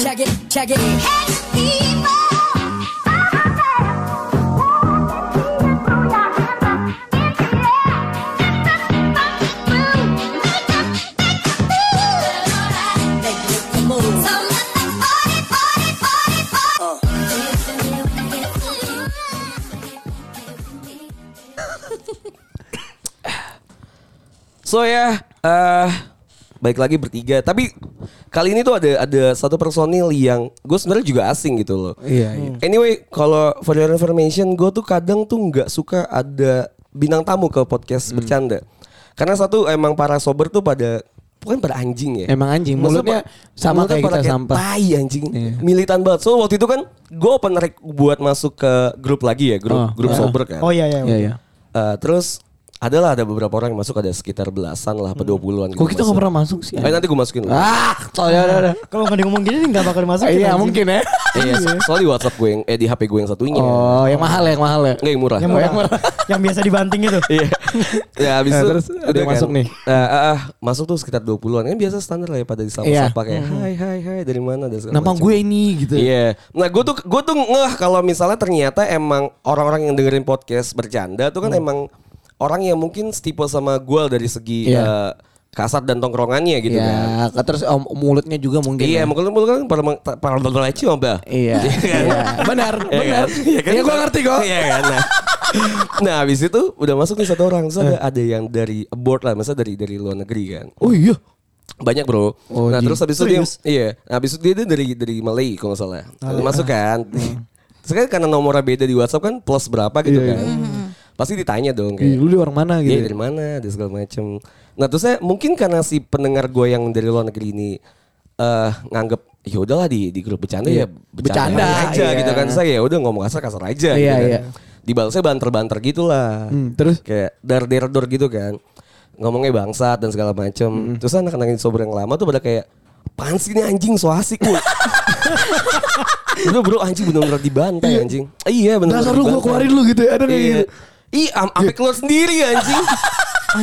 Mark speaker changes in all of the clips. Speaker 1: Check it. Make it the move.
Speaker 2: So ya, eh baik lagi bertiga. Tapi kali ini tuh ada ada satu personil yang gue sebenarnya juga asing gitu loh.
Speaker 3: Iya, iya.
Speaker 2: Anyway, kalau for your information, gue tuh kadang tuh nggak suka ada bintang tamu ke podcast
Speaker 3: Hmm.
Speaker 2: bercanda. Karena satu emang para sober tuh pada bukan pada anjing ya.
Speaker 3: Emang anjing, mulutnya sama
Speaker 2: mulutnya
Speaker 3: kayak
Speaker 2: pada
Speaker 3: kita sampah.
Speaker 2: Tai anjing,
Speaker 3: Iya.
Speaker 2: militan banget. So waktu itu kan gue open rec buat masuk ke grup lagi ya, grup
Speaker 3: Oh,
Speaker 2: grup
Speaker 3: iya.
Speaker 2: sober kan.
Speaker 4: Oh iya iya.
Speaker 3: Iya, iya.
Speaker 2: Eh, terus adalah ada beberapa orang yang masuk ada sekitar belasan lah, apa dua puluhan.
Speaker 3: Hmm.
Speaker 2: gitu
Speaker 3: Kok kita nggak pernah masuk sih?
Speaker 2: Eh nanti gue masukin. lah.
Speaker 3: Ah, soalnya ada ada.
Speaker 4: Kalau nggak ngomong gini nih nggak bakal masuk.
Speaker 3: Iya, mungkin ya.
Speaker 2: Iya, so- soalnya di WhatsApp gue yang eh di HP gue yang satunya.
Speaker 3: Oh, yang mahal ya, yang mahal ya.
Speaker 2: Enggak yang murah.
Speaker 4: Yang, murah. yang biasa dibanting itu.
Speaker 2: Iya. ya habis
Speaker 3: Nah,
Speaker 2: itu
Speaker 3: terus ada
Speaker 2: udah
Speaker 3: yang masuk nih.
Speaker 2: Nah, ah, ah, masuk tuh sekitar 20-an. Kan biasa standar lah ya pada disapa-sapa
Speaker 3: Iya.
Speaker 2: kayak hai hai hai dari mana dan segala
Speaker 3: Nama
Speaker 2: macam.
Speaker 3: gue ini gitu.
Speaker 2: Iya. Nah, gue tuh gue tuh ngeh kalau misalnya ternyata emang orang-orang yang dengerin podcast bercanda tuh kan
Speaker 3: Hmm.
Speaker 2: emang orang yang mungkin setipe sama gue dari segi
Speaker 3: Iya.
Speaker 2: eh, kasar dan tongkrongannya gitu kan.
Speaker 3: Ya, terus om, mulutnya juga mungkin.
Speaker 2: Iya,
Speaker 3: ya.
Speaker 2: emang kalau kan para para para coba.
Speaker 3: Iya. iya. Benar,
Speaker 2: kan? Iya
Speaker 3: benar.
Speaker 2: kan?
Speaker 3: Iya,
Speaker 2: kan?
Speaker 3: gue ngerti kok.
Speaker 2: Iya kan. Nah. Nah, habis itu udah masuk nih satu orang. Terus ada, ada yang dari abroad lah, masa dari dari luar negeri kan.
Speaker 3: Eh. Oh iya.
Speaker 2: Banyak, Bro.
Speaker 3: Oh,
Speaker 2: nah,
Speaker 3: di-
Speaker 2: terus habis itu dia iya, nah, habis itu dia, dia dari dari Malay kalau nggak salah.
Speaker 3: Ah, iya.
Speaker 2: masuk kan. Terus kan karena nomornya beda di WhatsApp kan plus berapa gitu
Speaker 3: Hmm. Iya,
Speaker 2: kan. Pasti ditanya dong
Speaker 3: Ih,
Speaker 2: kayak
Speaker 3: Lu di orang mana
Speaker 2: Iya
Speaker 3: gitu?
Speaker 2: dari mana dan segala macem. Nah terus saya mungkin karena si pendengar gue yang dari luar negeri ini eh nganggep ya udahlah di di grup bercanda ya
Speaker 3: Iya. Bercanda,
Speaker 2: aja
Speaker 3: iya.
Speaker 2: gitu kan saya ya udah ngomong kasar kasar aja.
Speaker 3: Iya,
Speaker 2: gitu
Speaker 3: iya.
Speaker 2: kan. Dibalas saya banter-banter gitulah.
Speaker 3: Hmm, terus?
Speaker 2: kayak dar der dor gitu kan. Ngomongnya bangsat dan segala macem.
Speaker 3: Hmm.
Speaker 2: Terus anak-anak yang sober yang lama tuh pada kayak Apaan sih ini anjing so asik lu Bro bro anjing bener-bener dibantai anjing Iya bener-bener
Speaker 3: Dasar lu gue
Speaker 2: dibantai.
Speaker 3: keluarin lu gitu. ya. Ada kayak
Speaker 2: Iya.
Speaker 3: gitu.
Speaker 2: Ih, am- ampe keluar sendiri anjing.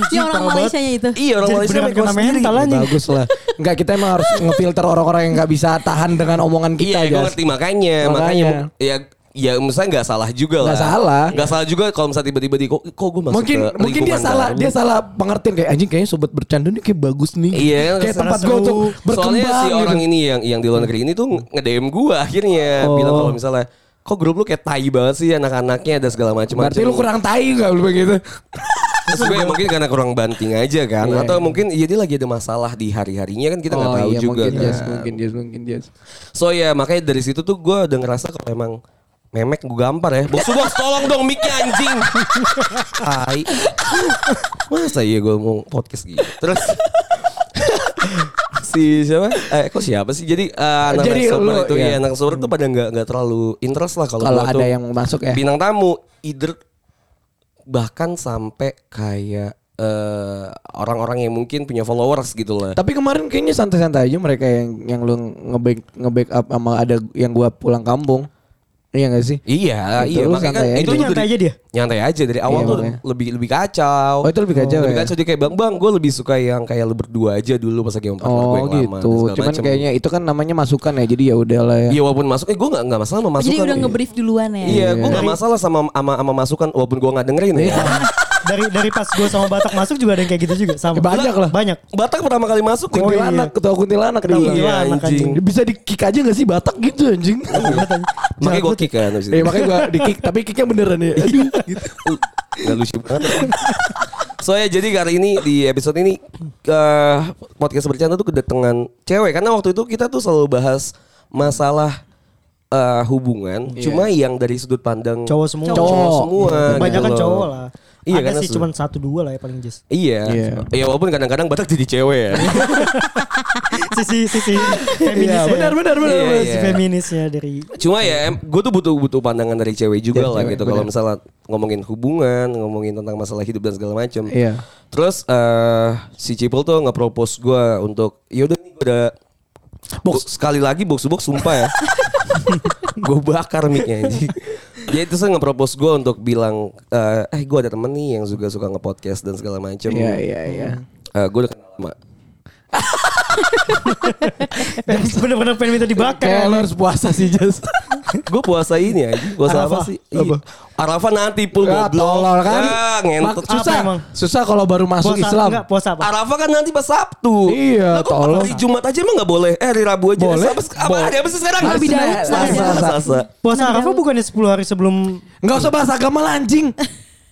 Speaker 5: Iya orang Malaysia nya itu.
Speaker 2: iya, orang
Speaker 4: Jadi
Speaker 2: Malaysia
Speaker 4: beneran
Speaker 2: ampe keluar
Speaker 4: kena
Speaker 2: sendiri.
Speaker 4: mental anjing.
Speaker 3: Bagus lah. Enggak kita emang harus ngefilter orang-orang yang nggak bisa tahan dengan omongan
Speaker 2: Iya,
Speaker 3: kita
Speaker 2: gue
Speaker 3: aja.
Speaker 2: ngerti makanya,
Speaker 3: Makanya.
Speaker 2: makanya, mu- ya ya misalnya nggak salah juga lah.
Speaker 3: Nggak salah.
Speaker 2: Nggak salah juga kalau misalnya tiba-tiba di kok, kok gue masuk
Speaker 3: Mungkin
Speaker 2: ke
Speaker 3: mungkin dia
Speaker 2: lingkungan kan.
Speaker 3: salah,
Speaker 2: baru?"
Speaker 3: dia salah pengertian kayak anjing kayaknya sobat bercanda nih kayak bagus nih.
Speaker 2: Iya,
Speaker 3: kayak
Speaker 2: seru.
Speaker 3: tempat gue untuk berkembang.
Speaker 2: Soalnya si
Speaker 3: gitu.
Speaker 2: orang ini yang yang di luar negeri ini tuh nge-DM gue akhirnya
Speaker 3: Oh.
Speaker 2: bilang kalau misalnya kok grup lu kayak tai banget sih anak-anaknya dan segala macam.
Speaker 3: Berarti lu kurang tai gak lu begitu?
Speaker 2: Terus gue ya, mungkin karena kurang banting aja kan
Speaker 3: Iya,
Speaker 2: Atau
Speaker 3: iya.
Speaker 2: mungkin ya dia lagi ada masalah di hari-harinya kan kita nggak tahu juga
Speaker 3: Oh, mungkin
Speaker 2: kan.
Speaker 3: yes, mungkin yes, mungkin yes.
Speaker 2: So ya makanya dari situ tuh gue udah ngerasa kalau emang memek gue gampar ya. Bos bos tolong dong mic anjing. Hai. Masa iya gue mau podcast gitu. Terus si siapa? Eh kok siapa sih? Jadi eh, anak
Speaker 3: Jadi
Speaker 2: anak sober
Speaker 3: lu,
Speaker 2: itu
Speaker 3: iya.
Speaker 2: ya anak sober tuh pada nggak nggak terlalu interest lah kalau
Speaker 3: Kalau
Speaker 2: gua
Speaker 3: ada
Speaker 2: tuh
Speaker 3: yang mau masuk ya.
Speaker 2: bintang tamu either bahkan sampai kayak eh, orang-orang yang mungkin punya followers gitu lah.
Speaker 3: Tapi kemarin kayaknya santai-santai aja mereka yang yang lu nge-back nge-back up sama ada yang gua pulang kampung. Iya gak sih?
Speaker 2: Iya,
Speaker 3: Gitu,
Speaker 2: iya
Speaker 3: lu
Speaker 2: makanya kan
Speaker 3: santai aja.
Speaker 2: itu
Speaker 4: Itu
Speaker 2: tuh
Speaker 4: nyantai
Speaker 2: dari-
Speaker 4: aja dia?
Speaker 2: Nyantai aja dari awal
Speaker 3: Iya,
Speaker 2: tuh
Speaker 3: makanya.
Speaker 2: lebih lebih kacau.
Speaker 3: Oh, itu lebih kacau
Speaker 2: Lebih
Speaker 3: ya?
Speaker 2: kacau dia kayak bang bang, gue lebih suka yang kayak lu berdua aja dulu pas lagi empat gue
Speaker 3: Oh
Speaker 2: Iya, yang lama,
Speaker 3: gitu.
Speaker 2: dan segala
Speaker 3: Cuman
Speaker 2: macem.
Speaker 3: kayaknya itu kan namanya masukan ya. Jadi ya udahlah ya.
Speaker 2: Iya walaupun masuk, eh gue gak, nggak masalah sama masukan.
Speaker 5: Jadi udah ngebrief duluan ya.
Speaker 2: Iya, gue gak masalah sama sama, sama masukan walaupun gue gak dengerin
Speaker 3: Iya.
Speaker 2: ya.
Speaker 4: Dari dari pas gue sama Batak masuk juga ada yang kayak gitu juga. Sama.
Speaker 3: Banyak lah.
Speaker 4: Banyak.
Speaker 2: Batak pertama kali masuk nih.
Speaker 4: Oh, iya.
Speaker 3: Kuntilanak, ketua kuntilanak
Speaker 4: Ketua
Speaker 3: dia.
Speaker 2: Iya
Speaker 4: kuntilanak,
Speaker 2: anjing. Iya,
Speaker 3: Dia Kan Bisa di kick aja gak sih Batak gitu anjing?
Speaker 2: Makanya gue kick Iya, kan abis itu.
Speaker 3: Eh makanya gua di kick, tapi kicknya beneran ya. Aduh, gitu.
Speaker 2: Gak lucu banget. So ya jadi kali ini di episode ini eh, podcast bercanda tuh kedatangan cewek karena waktu itu kita tuh selalu bahas masalah eh, hubungan cuma yang dari sudut pandang
Speaker 4: Iya. Cowok semua.
Speaker 5: Cowok.
Speaker 2: semua.
Speaker 4: Banyak
Speaker 2: gitu
Speaker 4: kan
Speaker 2: loh.
Speaker 4: cowok lah.
Speaker 2: Iya
Speaker 4: ada
Speaker 2: karena
Speaker 4: sih
Speaker 2: se-
Speaker 4: cuman satu dua lah ya paling jis.
Speaker 2: Iya.
Speaker 3: Iya.
Speaker 2: Ya walaupun kadang-kadang Batak jadi cewek ya.
Speaker 4: Sisi sisi feminis.
Speaker 3: Iya, benar benar benar.
Speaker 2: Iya,
Speaker 3: benar.
Speaker 2: iya.
Speaker 4: Si feminisnya dari
Speaker 2: Cuma ya, gue tuh butuh butuh pandangan dari cewek juga
Speaker 3: Dari
Speaker 2: lah
Speaker 3: cewek,
Speaker 2: gitu. Kalau
Speaker 3: bener.
Speaker 2: misalnya ngomongin hubungan, ngomongin tentang masalah hidup dan segala macam.
Speaker 3: Iya.
Speaker 2: Terus eh, si Cipul tuh nge-propose gue untuk, yaudah nih gue udah box sekali lagi box to box sumpah ya. gue bakar mic-nya anjing. Dia itu saya nge-propose gue untuk bilang, eh, eh gue ada temen nih yang juga suka nge-podcast dan segala macam.
Speaker 3: Iya iya iya.
Speaker 2: Eh, gue udah kenal sama
Speaker 4: Bener-bener pengen minta
Speaker 3: Kayak
Speaker 4: dibakar.
Speaker 3: lo harus puasa sih Jas.
Speaker 2: Gue puasa ini aja. Puasa apa
Speaker 4: Arafah.
Speaker 2: sih? Iya. Arafah nanti pul
Speaker 3: Ya,
Speaker 2: goblok.
Speaker 3: tolol kan.
Speaker 2: Ah,
Speaker 3: Mak-
Speaker 2: ngentot.
Speaker 3: susah,
Speaker 4: Apa emang?
Speaker 3: susah kalau baru masuk
Speaker 4: Puasa
Speaker 3: Islam.
Speaker 4: enggak puasa apa?
Speaker 2: Arafah kan nanti pas Sabtu.
Speaker 3: Iya,
Speaker 2: kok
Speaker 3: tolong.
Speaker 2: Hari Jumat aja emang gak boleh. Eh, hari Rabu aja.
Speaker 3: Boleh.
Speaker 2: Apa, apa
Speaker 3: Boleh. Iya,
Speaker 2: hari apa sih sekarang?
Speaker 5: Hari Bidang.
Speaker 2: Senin,
Speaker 5: Selasa,
Speaker 2: Selasa,
Speaker 3: Selasa.
Speaker 2: Selasa. Eh,
Speaker 4: Puasa
Speaker 5: Nah,
Speaker 4: Arafah
Speaker 5: jauh.
Speaker 4: bukannya 10 hari sebelum
Speaker 3: Enggak usah bahas agama lah anjing.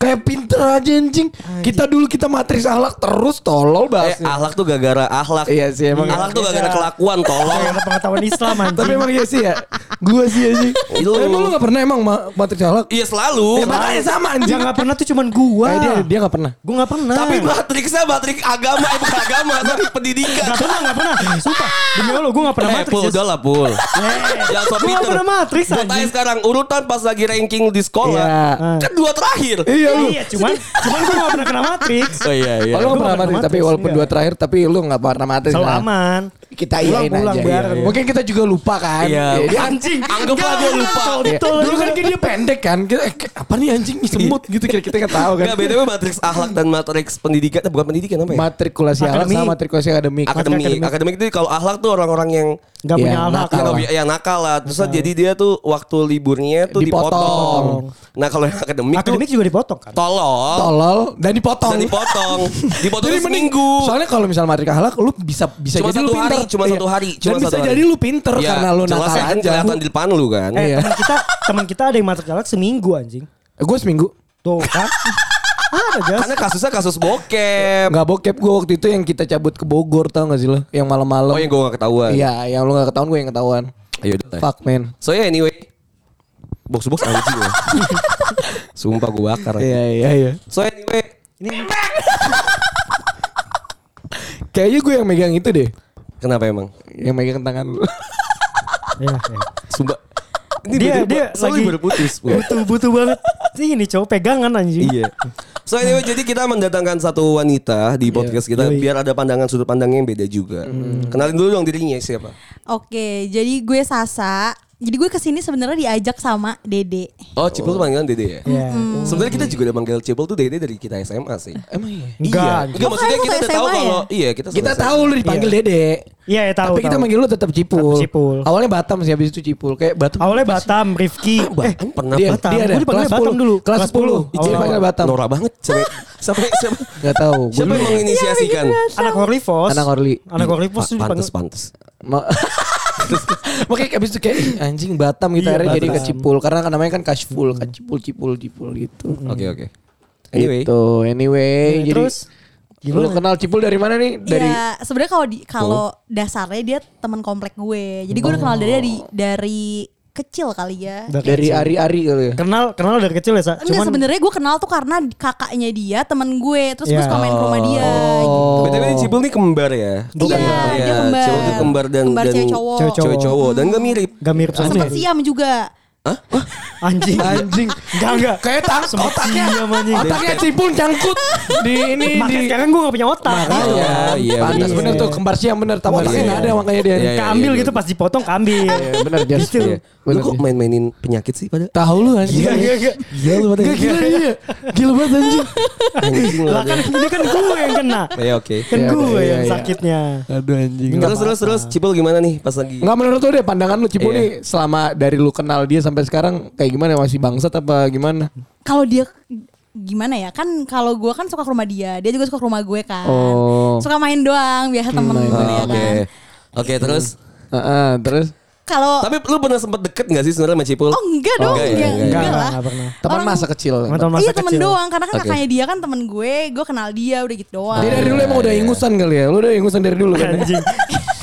Speaker 3: Kayak pinter aja anjing. Kita dulu kita matris akhlak terus
Speaker 2: Eh,
Speaker 3: tolol bahasnya.
Speaker 2: ahlak tuh gara-gara ahlak.
Speaker 3: Iya sih, emang Iya,
Speaker 2: Ahlak tuh
Speaker 4: iya.
Speaker 2: gara-gara kelakuan, tolong.
Speaker 4: Karena pengetahuan Islam
Speaker 3: Tapi
Speaker 4: anjing.
Speaker 3: emang iya sih ya. Gua sih anjing.
Speaker 2: Lu.
Speaker 3: Emang lu gak pernah emang ma- matris akhlak?
Speaker 2: Iya selalu.
Speaker 3: Ya, makanya sama anjing.
Speaker 4: Yang gak pernah tuh cuman gua.
Speaker 3: Eh, dia dia gak pernah.
Speaker 4: Gua gak pernah.
Speaker 2: Tapi matriksnya matrik agama, eh, bukan agama, tapi pendidikan.
Speaker 4: Gak pernah, gak pernah. Sumpah. Demi Allah gue gak pernah
Speaker 2: Eh,
Speaker 4: matrix.
Speaker 3: ya.
Speaker 2: Pul, udah lah, Pul.
Speaker 3: Iya.
Speaker 2: Jangan sok
Speaker 4: Gua gak
Speaker 2: pinter.
Speaker 4: pernah matrix
Speaker 2: Gua tanya
Speaker 4: anjing.
Speaker 2: sekarang, urutan pas lagi ranking di
Speaker 3: Iya.
Speaker 2: sekolah. Kedua terakhir.
Speaker 3: Iya lu.
Speaker 4: Iya cuman, cuman gue gak pernah kena matrix.
Speaker 2: Oh iya, iya.
Speaker 3: Oh, lu gak pernah
Speaker 4: Gua gak pernah
Speaker 3: matris tapi
Speaker 4: matris,
Speaker 3: walaupun
Speaker 4: iya.
Speaker 3: dua terakhir tapi lu gak pernah matris.
Speaker 4: Selalu
Speaker 3: lah.
Speaker 4: aman.
Speaker 3: Kita iyain
Speaker 4: Pulang-pulang
Speaker 3: aja. iya,
Speaker 4: bareng.
Speaker 3: Mungkin kita juga lupa kan.
Speaker 2: Iya.
Speaker 3: Iya, dia-
Speaker 2: Anjing. Anggaplah gue lupa.
Speaker 3: Iya. Dulu kan kayak dia pendek kan. Kita, eh, kayak apa nih anjing semut gitu kira kita nggak tahu kan.
Speaker 2: Enggak, Iya. btw matriks akhlak dan matriks pendidikan, eh, bukan pendidikan apa ya?
Speaker 3: Matrikulasi alam
Speaker 4: Akademik.
Speaker 3: sama matrikulasi akademik.
Speaker 2: akademik.
Speaker 4: Akademik.
Speaker 2: Akademik itu kalau akhlak tuh orang-orang yang
Speaker 4: Gak punya
Speaker 3: Iya, nakal.
Speaker 4: alat.
Speaker 3: Nah.
Speaker 2: yang nggak bi- yang nakal lah. Terus jadi dia tuh waktu liburnya tuh
Speaker 3: Dipotong.
Speaker 2: dipotong. Nah, kalau yang akademik,
Speaker 4: Akademik juga dipotong kan.
Speaker 2: tuh tolong.
Speaker 3: Tolol dan dipotong.
Speaker 2: Dan dipotong. Dipotong
Speaker 3: Jadi mending-
Speaker 2: seminggu.
Speaker 3: Soalnya kalau misal matrik akhlak lu bisa bisa
Speaker 2: Cuma
Speaker 3: jadi lu
Speaker 2: satu hari,
Speaker 3: pinter.
Speaker 2: cuma
Speaker 3: Iya.
Speaker 2: satu hari,
Speaker 3: Dan
Speaker 2: cuma
Speaker 3: bisa
Speaker 2: satu hari.
Speaker 3: jadi lu pinter
Speaker 2: Ya,
Speaker 3: karena lu nakal
Speaker 2: jelasnya kan
Speaker 3: aja.
Speaker 2: kelihatan di depan lu kan.
Speaker 4: Eh
Speaker 3: Iya.
Speaker 4: teman kita, teman kita ada yang matrix galak seminggu anjing.
Speaker 3: Gue Eh, seminggu
Speaker 4: Tuh kan. Ada jas.
Speaker 2: Karena kasusnya kasus bokep.
Speaker 3: nggak bokep gue waktu itu yang kita cabut ke Bogor tau gak sih lo? Yang malam-malam.
Speaker 2: Oh yang Eh. gue gak ketahuan.
Speaker 3: Iya, yang lu gak ketahuan gue yang ketahuan.
Speaker 2: Ayo udah.
Speaker 3: Fuck man.
Speaker 2: So yeah, anyway. Box box anjing ya. Sumpah gue bakar.
Speaker 3: Iya iya iya.
Speaker 2: So anyway.
Speaker 3: Kayaknya gue yang megang itu deh.
Speaker 2: Kenapa emang?
Speaker 3: Yang megang tangan lu.
Speaker 4: Iya, iya.
Speaker 2: Sumpah. Ini
Speaker 4: Dia-
Speaker 2: beda-
Speaker 4: dia
Speaker 2: selalu
Speaker 4: lagi-
Speaker 2: berputus. Bu.
Speaker 4: Butuh butuh banget. Sih ini cowok pegangan anjing.
Speaker 2: iya. So anyway jadi kita mendatangkan satu wanita di podcast kita
Speaker 4: Yoi.
Speaker 2: biar ada pandangan sudut pandangnya yang beda juga. Kenalin dulu dong dirinya siapa?
Speaker 5: Oke, jadi gue Sasa. Jadi gue kesini sebenarnya diajak sama Dede.
Speaker 2: Oh Cipul tuh panggilan Dede ya.
Speaker 4: Iya.
Speaker 2: Sebenarnya kita juga udah manggil Cipul tuh Dede dari kita SMA sih.
Speaker 3: Emang iya.
Speaker 4: Enggak. anjing.
Speaker 2: Enggak maksudnya
Speaker 5: kalian
Speaker 2: kita
Speaker 5: satu
Speaker 2: udah tahu
Speaker 5: SMA ya?
Speaker 2: kalau iya kita
Speaker 3: Kita
Speaker 2: satu
Speaker 3: tahu lu dipanggil Dede.
Speaker 4: Iya, ya, tahu.
Speaker 3: Tapi kita
Speaker 4: tahu.
Speaker 3: manggil lu tetap Cipul.
Speaker 4: Tetap Cipul.
Speaker 3: Awalnya Batam sih habis itu Cipul. Kayak Batam.
Speaker 4: Awalnya Batam, Rifki. Eh,
Speaker 2: Batam pernah
Speaker 3: dia,
Speaker 4: Batam.
Speaker 3: dia ada
Speaker 4: Gua dipanggilnya
Speaker 3: kelas
Speaker 4: Batam
Speaker 3: 10.
Speaker 4: dulu.
Speaker 3: Kelas
Speaker 4: Kelas
Speaker 3: 10.
Speaker 4: Oh. 10.
Speaker 3: Dia
Speaker 4: Awal-awal.
Speaker 3: dipanggil Batam.
Speaker 2: Nora banget sampai sampai siapa
Speaker 3: Gak tahu. Gua
Speaker 2: siapa
Speaker 3: dulu-
Speaker 2: yang menginisiasikan? Ah,
Speaker 4: anak Orlivos.
Speaker 3: Anak Orli.
Speaker 4: Anak Orlivos tuh
Speaker 2: Iya, pantes
Speaker 4: dipanggil.
Speaker 2: pantes.
Speaker 3: Ma- Makanya abis itu kayak "Ih, anjing Batam gitu
Speaker 4: Iya,
Speaker 3: akhirnya jadi ke
Speaker 4: Batam.
Speaker 3: Cipul karena kan namanya kan Kashful, kan Cipul Cipul Cipul gitu.
Speaker 2: Oke oke. Anyway,
Speaker 3: Gitu. Anyway,
Speaker 4: Nah,
Speaker 3: jadi
Speaker 4: terus
Speaker 3: Lu
Speaker 4: gimana?
Speaker 3: kenal Cipul dari mana nih? Dari
Speaker 5: Iya, sebenarnya kalau di kalau dasarnya dia teman komplek gue. Jadi gue udah kenal dia dari dari kecil kali ya.
Speaker 3: dari Ari-Ari kali ya.
Speaker 4: Kenal kenal dari kecil ya, Sa.
Speaker 5: Enggak sebenarnya gue kenal tuh karena kakaknya dia temen gue terus gue
Speaker 4: Iya.
Speaker 5: suka main ke rumah dia gitu.
Speaker 3: Oh.
Speaker 2: BTW ini Cibul nih kembar ya?
Speaker 5: Iya, dia kembar.
Speaker 2: Cibul tuh kembar dan
Speaker 5: Kembar
Speaker 2: dan
Speaker 5: cewek cowok.
Speaker 4: Cewek cowok. Iya.
Speaker 2: cewek cowok dan gak mirip.
Speaker 4: Gak mirip
Speaker 5: gitu.
Speaker 4: sama
Speaker 5: Sempet siam juga.
Speaker 4: Anjing.
Speaker 3: Anjing.
Speaker 4: Enggak enggak.
Speaker 3: Kayak ya. tang otaknya.
Speaker 4: Iya, anjing.
Speaker 3: Otaknya Cipul nyangkut di ini di
Speaker 4: Makanya sekarang gue gak punya otak.
Speaker 3: Makanya,
Speaker 2: Oh, iya,
Speaker 3: pantas
Speaker 4: bener.
Speaker 3: bener tuh kembar siang bener, tapi
Speaker 2: Otaknya
Speaker 3: otaknya nggak ada makanya dia.
Speaker 2: Iya, iya,
Speaker 4: Keambil
Speaker 2: iya,
Speaker 4: gitu
Speaker 2: bener.
Speaker 4: pas dipotong keambil.
Speaker 3: Bener Jas.
Speaker 4: Gitu.
Speaker 3: Iya,
Speaker 2: Lu
Speaker 3: bener,
Speaker 2: kok
Speaker 3: Jas.
Speaker 2: main-mainin penyakit sih pada?
Speaker 3: Tahu lu anjing.
Speaker 4: Iya, iya, iya.
Speaker 2: Iya lu pada.
Speaker 3: Gak gila dia. Gila banget anjing.
Speaker 2: Anjing lu
Speaker 4: Lah kan
Speaker 2: ada.
Speaker 4: ini kan gue yang kena.
Speaker 2: Ya oke.
Speaker 4: Kan
Speaker 3: Iya,
Speaker 4: gue
Speaker 3: iya,
Speaker 4: yang
Speaker 3: iya.
Speaker 4: sakitnya.
Speaker 3: Aduh anjing.
Speaker 2: Terus terus terus Cibul gimana nih pas lagi?
Speaker 3: Enggak menurut lu deh pandangan lu Cipu
Speaker 2: Iya.
Speaker 3: nih selama dari lu kenal dia sampai sekarang kayak gimana masih bangsat apa gimana?
Speaker 5: Kalau dia gimana ya kan kalau gue kan suka ke rumah dia dia juga suka ke rumah gue kan
Speaker 3: Oh.
Speaker 5: suka main doang biasa temen
Speaker 3: main
Speaker 5: gue ya
Speaker 2: Ah, Oke.
Speaker 5: kan
Speaker 2: Oke terus.
Speaker 3: Heeh, terus
Speaker 5: kalau
Speaker 2: Tapi lu pernah sempet deket gak sih sebenarnya sama Cipul?
Speaker 5: oh enggak dong
Speaker 2: Enggak ya,
Speaker 5: enggak enggak,
Speaker 2: enggak ya.
Speaker 5: lah
Speaker 4: Enggak pernah.
Speaker 3: teman
Speaker 5: Orang-
Speaker 3: masa kecil.
Speaker 4: Teman masa
Speaker 5: iya temen
Speaker 4: kecil.
Speaker 5: doang karena kan
Speaker 2: Oke.
Speaker 5: kakaknya dia kan temen gue gue kenal dia udah gitu doang
Speaker 3: Dia dari dulu emang udah ingusan kali ya. Lu udah ingusan dari dulu kan. ya?
Speaker 4: Anjing.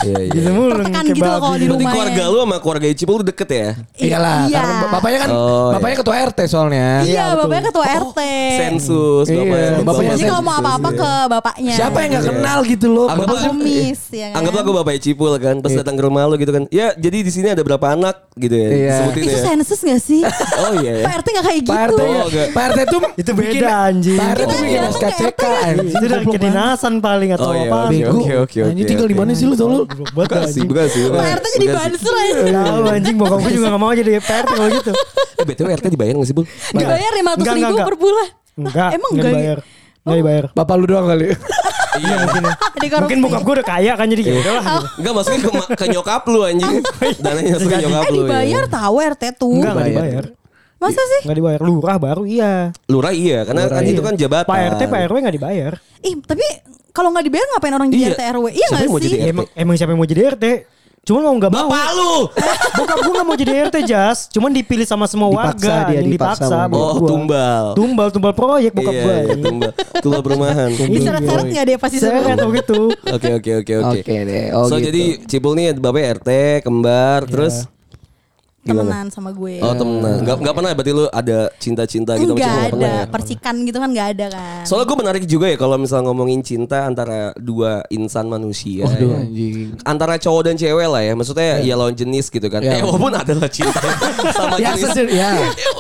Speaker 2: Iya iya.
Speaker 4: Gitu mulu
Speaker 5: Tertekan
Speaker 4: kayak
Speaker 5: gitu loh kalau
Speaker 4: babi.
Speaker 5: di
Speaker 2: Berarti
Speaker 5: rumah.
Speaker 2: keluarga lu sama keluarga Cipul tuh deket ya?
Speaker 3: Iyalah,
Speaker 5: Iya.
Speaker 3: karena bapaknya kan
Speaker 2: Oh,
Speaker 3: bapaknya ketua RT soalnya.
Speaker 5: iya bapaknya ketua rt
Speaker 2: Sensus
Speaker 3: Iya,
Speaker 2: bapaknya.
Speaker 3: Oh, bapaknya
Speaker 5: jadi kalau mau
Speaker 2: sensus,
Speaker 5: apa-apa
Speaker 2: iya.
Speaker 5: ke bapaknya
Speaker 3: Siapa yang gak kenal gitu loh.
Speaker 2: Anggaplah
Speaker 3: Bapak-
Speaker 5: Oh, Kumis, ya kan?
Speaker 2: Anggaplah gue bapaknya Cipul kan, pas datang ke rumah lu gitu kan. Ya, jadi di sini ada berapa anak gitu ya.
Speaker 3: Iya.
Speaker 2: Sebutin
Speaker 5: itu
Speaker 2: ya.
Speaker 5: sensus gak sih
Speaker 2: Oh iya ya.
Speaker 5: Pak RT gak kayak gitu
Speaker 3: Pak ya? RT,
Speaker 2: Oh, enggak.
Speaker 3: Pak RT tuh
Speaker 4: Itu beda,
Speaker 3: bikin-
Speaker 4: anjing.
Speaker 3: Pak RT tuh
Speaker 5: Kita
Speaker 3: bikin
Speaker 5: datang ke
Speaker 3: SKCK
Speaker 5: RT kan?
Speaker 3: anjing.
Speaker 4: Itu dari kedinasan paling atau
Speaker 2: Oh, iya,
Speaker 4: apa.
Speaker 2: oke,
Speaker 4: gitu. Bego.
Speaker 2: oke, oke,
Speaker 3: Anjing
Speaker 2: oke,
Speaker 3: Nah, tinggal di
Speaker 2: oke.
Speaker 3: mana sih lu tau lu?
Speaker 4: Goblok banget,
Speaker 2: Bekasi,
Speaker 4: anjing.
Speaker 2: Bekasi.
Speaker 5: Pak RT Oh, jadi banser aja
Speaker 4: Tahu anjing bokap gue juga gak mau jadi PRT kalau gitu.
Speaker 2: Eh, BTW RT dibayar gak sih, Bul?
Speaker 5: dibayar lima
Speaker 4: Enggak,
Speaker 5: ribu
Speaker 4: enggak,
Speaker 5: per bulan
Speaker 4: Enggak. nggak
Speaker 5: emang enggak ya?
Speaker 4: dibayar. Enggak dibayar.
Speaker 3: Bapak lu doang kali.
Speaker 2: Iya mungkin.
Speaker 3: ya.
Speaker 5: Dikorupsi.
Speaker 4: Mungkin bokap gue udah kaya kan jadi ya udahlah. gitu.
Speaker 2: Enggak Iya. maksudnya ke, ma- ke nyokap lu anjing. Dananya masuk ke nyokap lu.
Speaker 5: Eh
Speaker 2: ya.
Speaker 5: dibayar tahu RT tuh.
Speaker 4: Enggak, enggak
Speaker 3: Bayar.
Speaker 4: dibayar.
Speaker 5: Masa sih?
Speaker 4: Enggak dibayar. Lurah baru iya.
Speaker 2: Lurah iya, karena kan itu kan jabatan.
Speaker 4: Pak RT, Pak RW enggak dibayar.
Speaker 5: Ih, tapi kalau nggak dibayar ngapain orang jadi
Speaker 2: Iya.
Speaker 5: RT RW? Iya
Speaker 2: Siapa
Speaker 5: nggak
Speaker 2: yang mau
Speaker 5: sih?
Speaker 2: jadi
Speaker 4: Ya, emang, emang siapa yang mau jadi RT? Cuman mau nggak mau.
Speaker 2: Bapak lu.
Speaker 4: Bokap gue gak mau jadi RT Jas Cuman dipilih sama semua
Speaker 3: Dipaksa
Speaker 4: warga
Speaker 3: dia,
Speaker 4: anjing,
Speaker 3: dipaksa
Speaker 4: dipaksa
Speaker 3: sama
Speaker 4: bokap
Speaker 2: Oh,
Speaker 4: gua.
Speaker 2: tumbal.
Speaker 4: Tumbal Tumbal proyek bokap ya.
Speaker 2: Iya,
Speaker 4: gue
Speaker 2: iya, tumbal. Tumbal perumahan.
Speaker 5: Diseret-seret nggak dia pasti
Speaker 4: Saya
Speaker 5: sebenarnya.
Speaker 4: atau gitu
Speaker 2: Oke oke oke oke.
Speaker 3: Oke deh, oh
Speaker 2: so
Speaker 3: gitu.
Speaker 2: jadi Cipul nih bapaknya RT, kembar, terus
Speaker 5: Temenan sama gue.
Speaker 2: oh temenan. Gak, nggak pernah berarti lu ada cinta-cinta gitu sama
Speaker 5: Enggak
Speaker 2: Cipul, nggak
Speaker 5: ada
Speaker 2: pernah ya?
Speaker 5: percikan gitu kan nggak ada kan.
Speaker 2: Soalnya gue menarik juga ya kalau misalnya ngomongin cinta antara dua insan manusia.
Speaker 3: Waduh,
Speaker 2: ya.
Speaker 3: anjing.
Speaker 2: Antara cowok dan cewek lah ya, maksudnya ya lawan jenis gitu kan. Eh
Speaker 3: Ya.
Speaker 2: walaupun adalah cinta sama
Speaker 3: Ya,
Speaker 2: jenis. Eh,
Speaker 3: sejer- ya.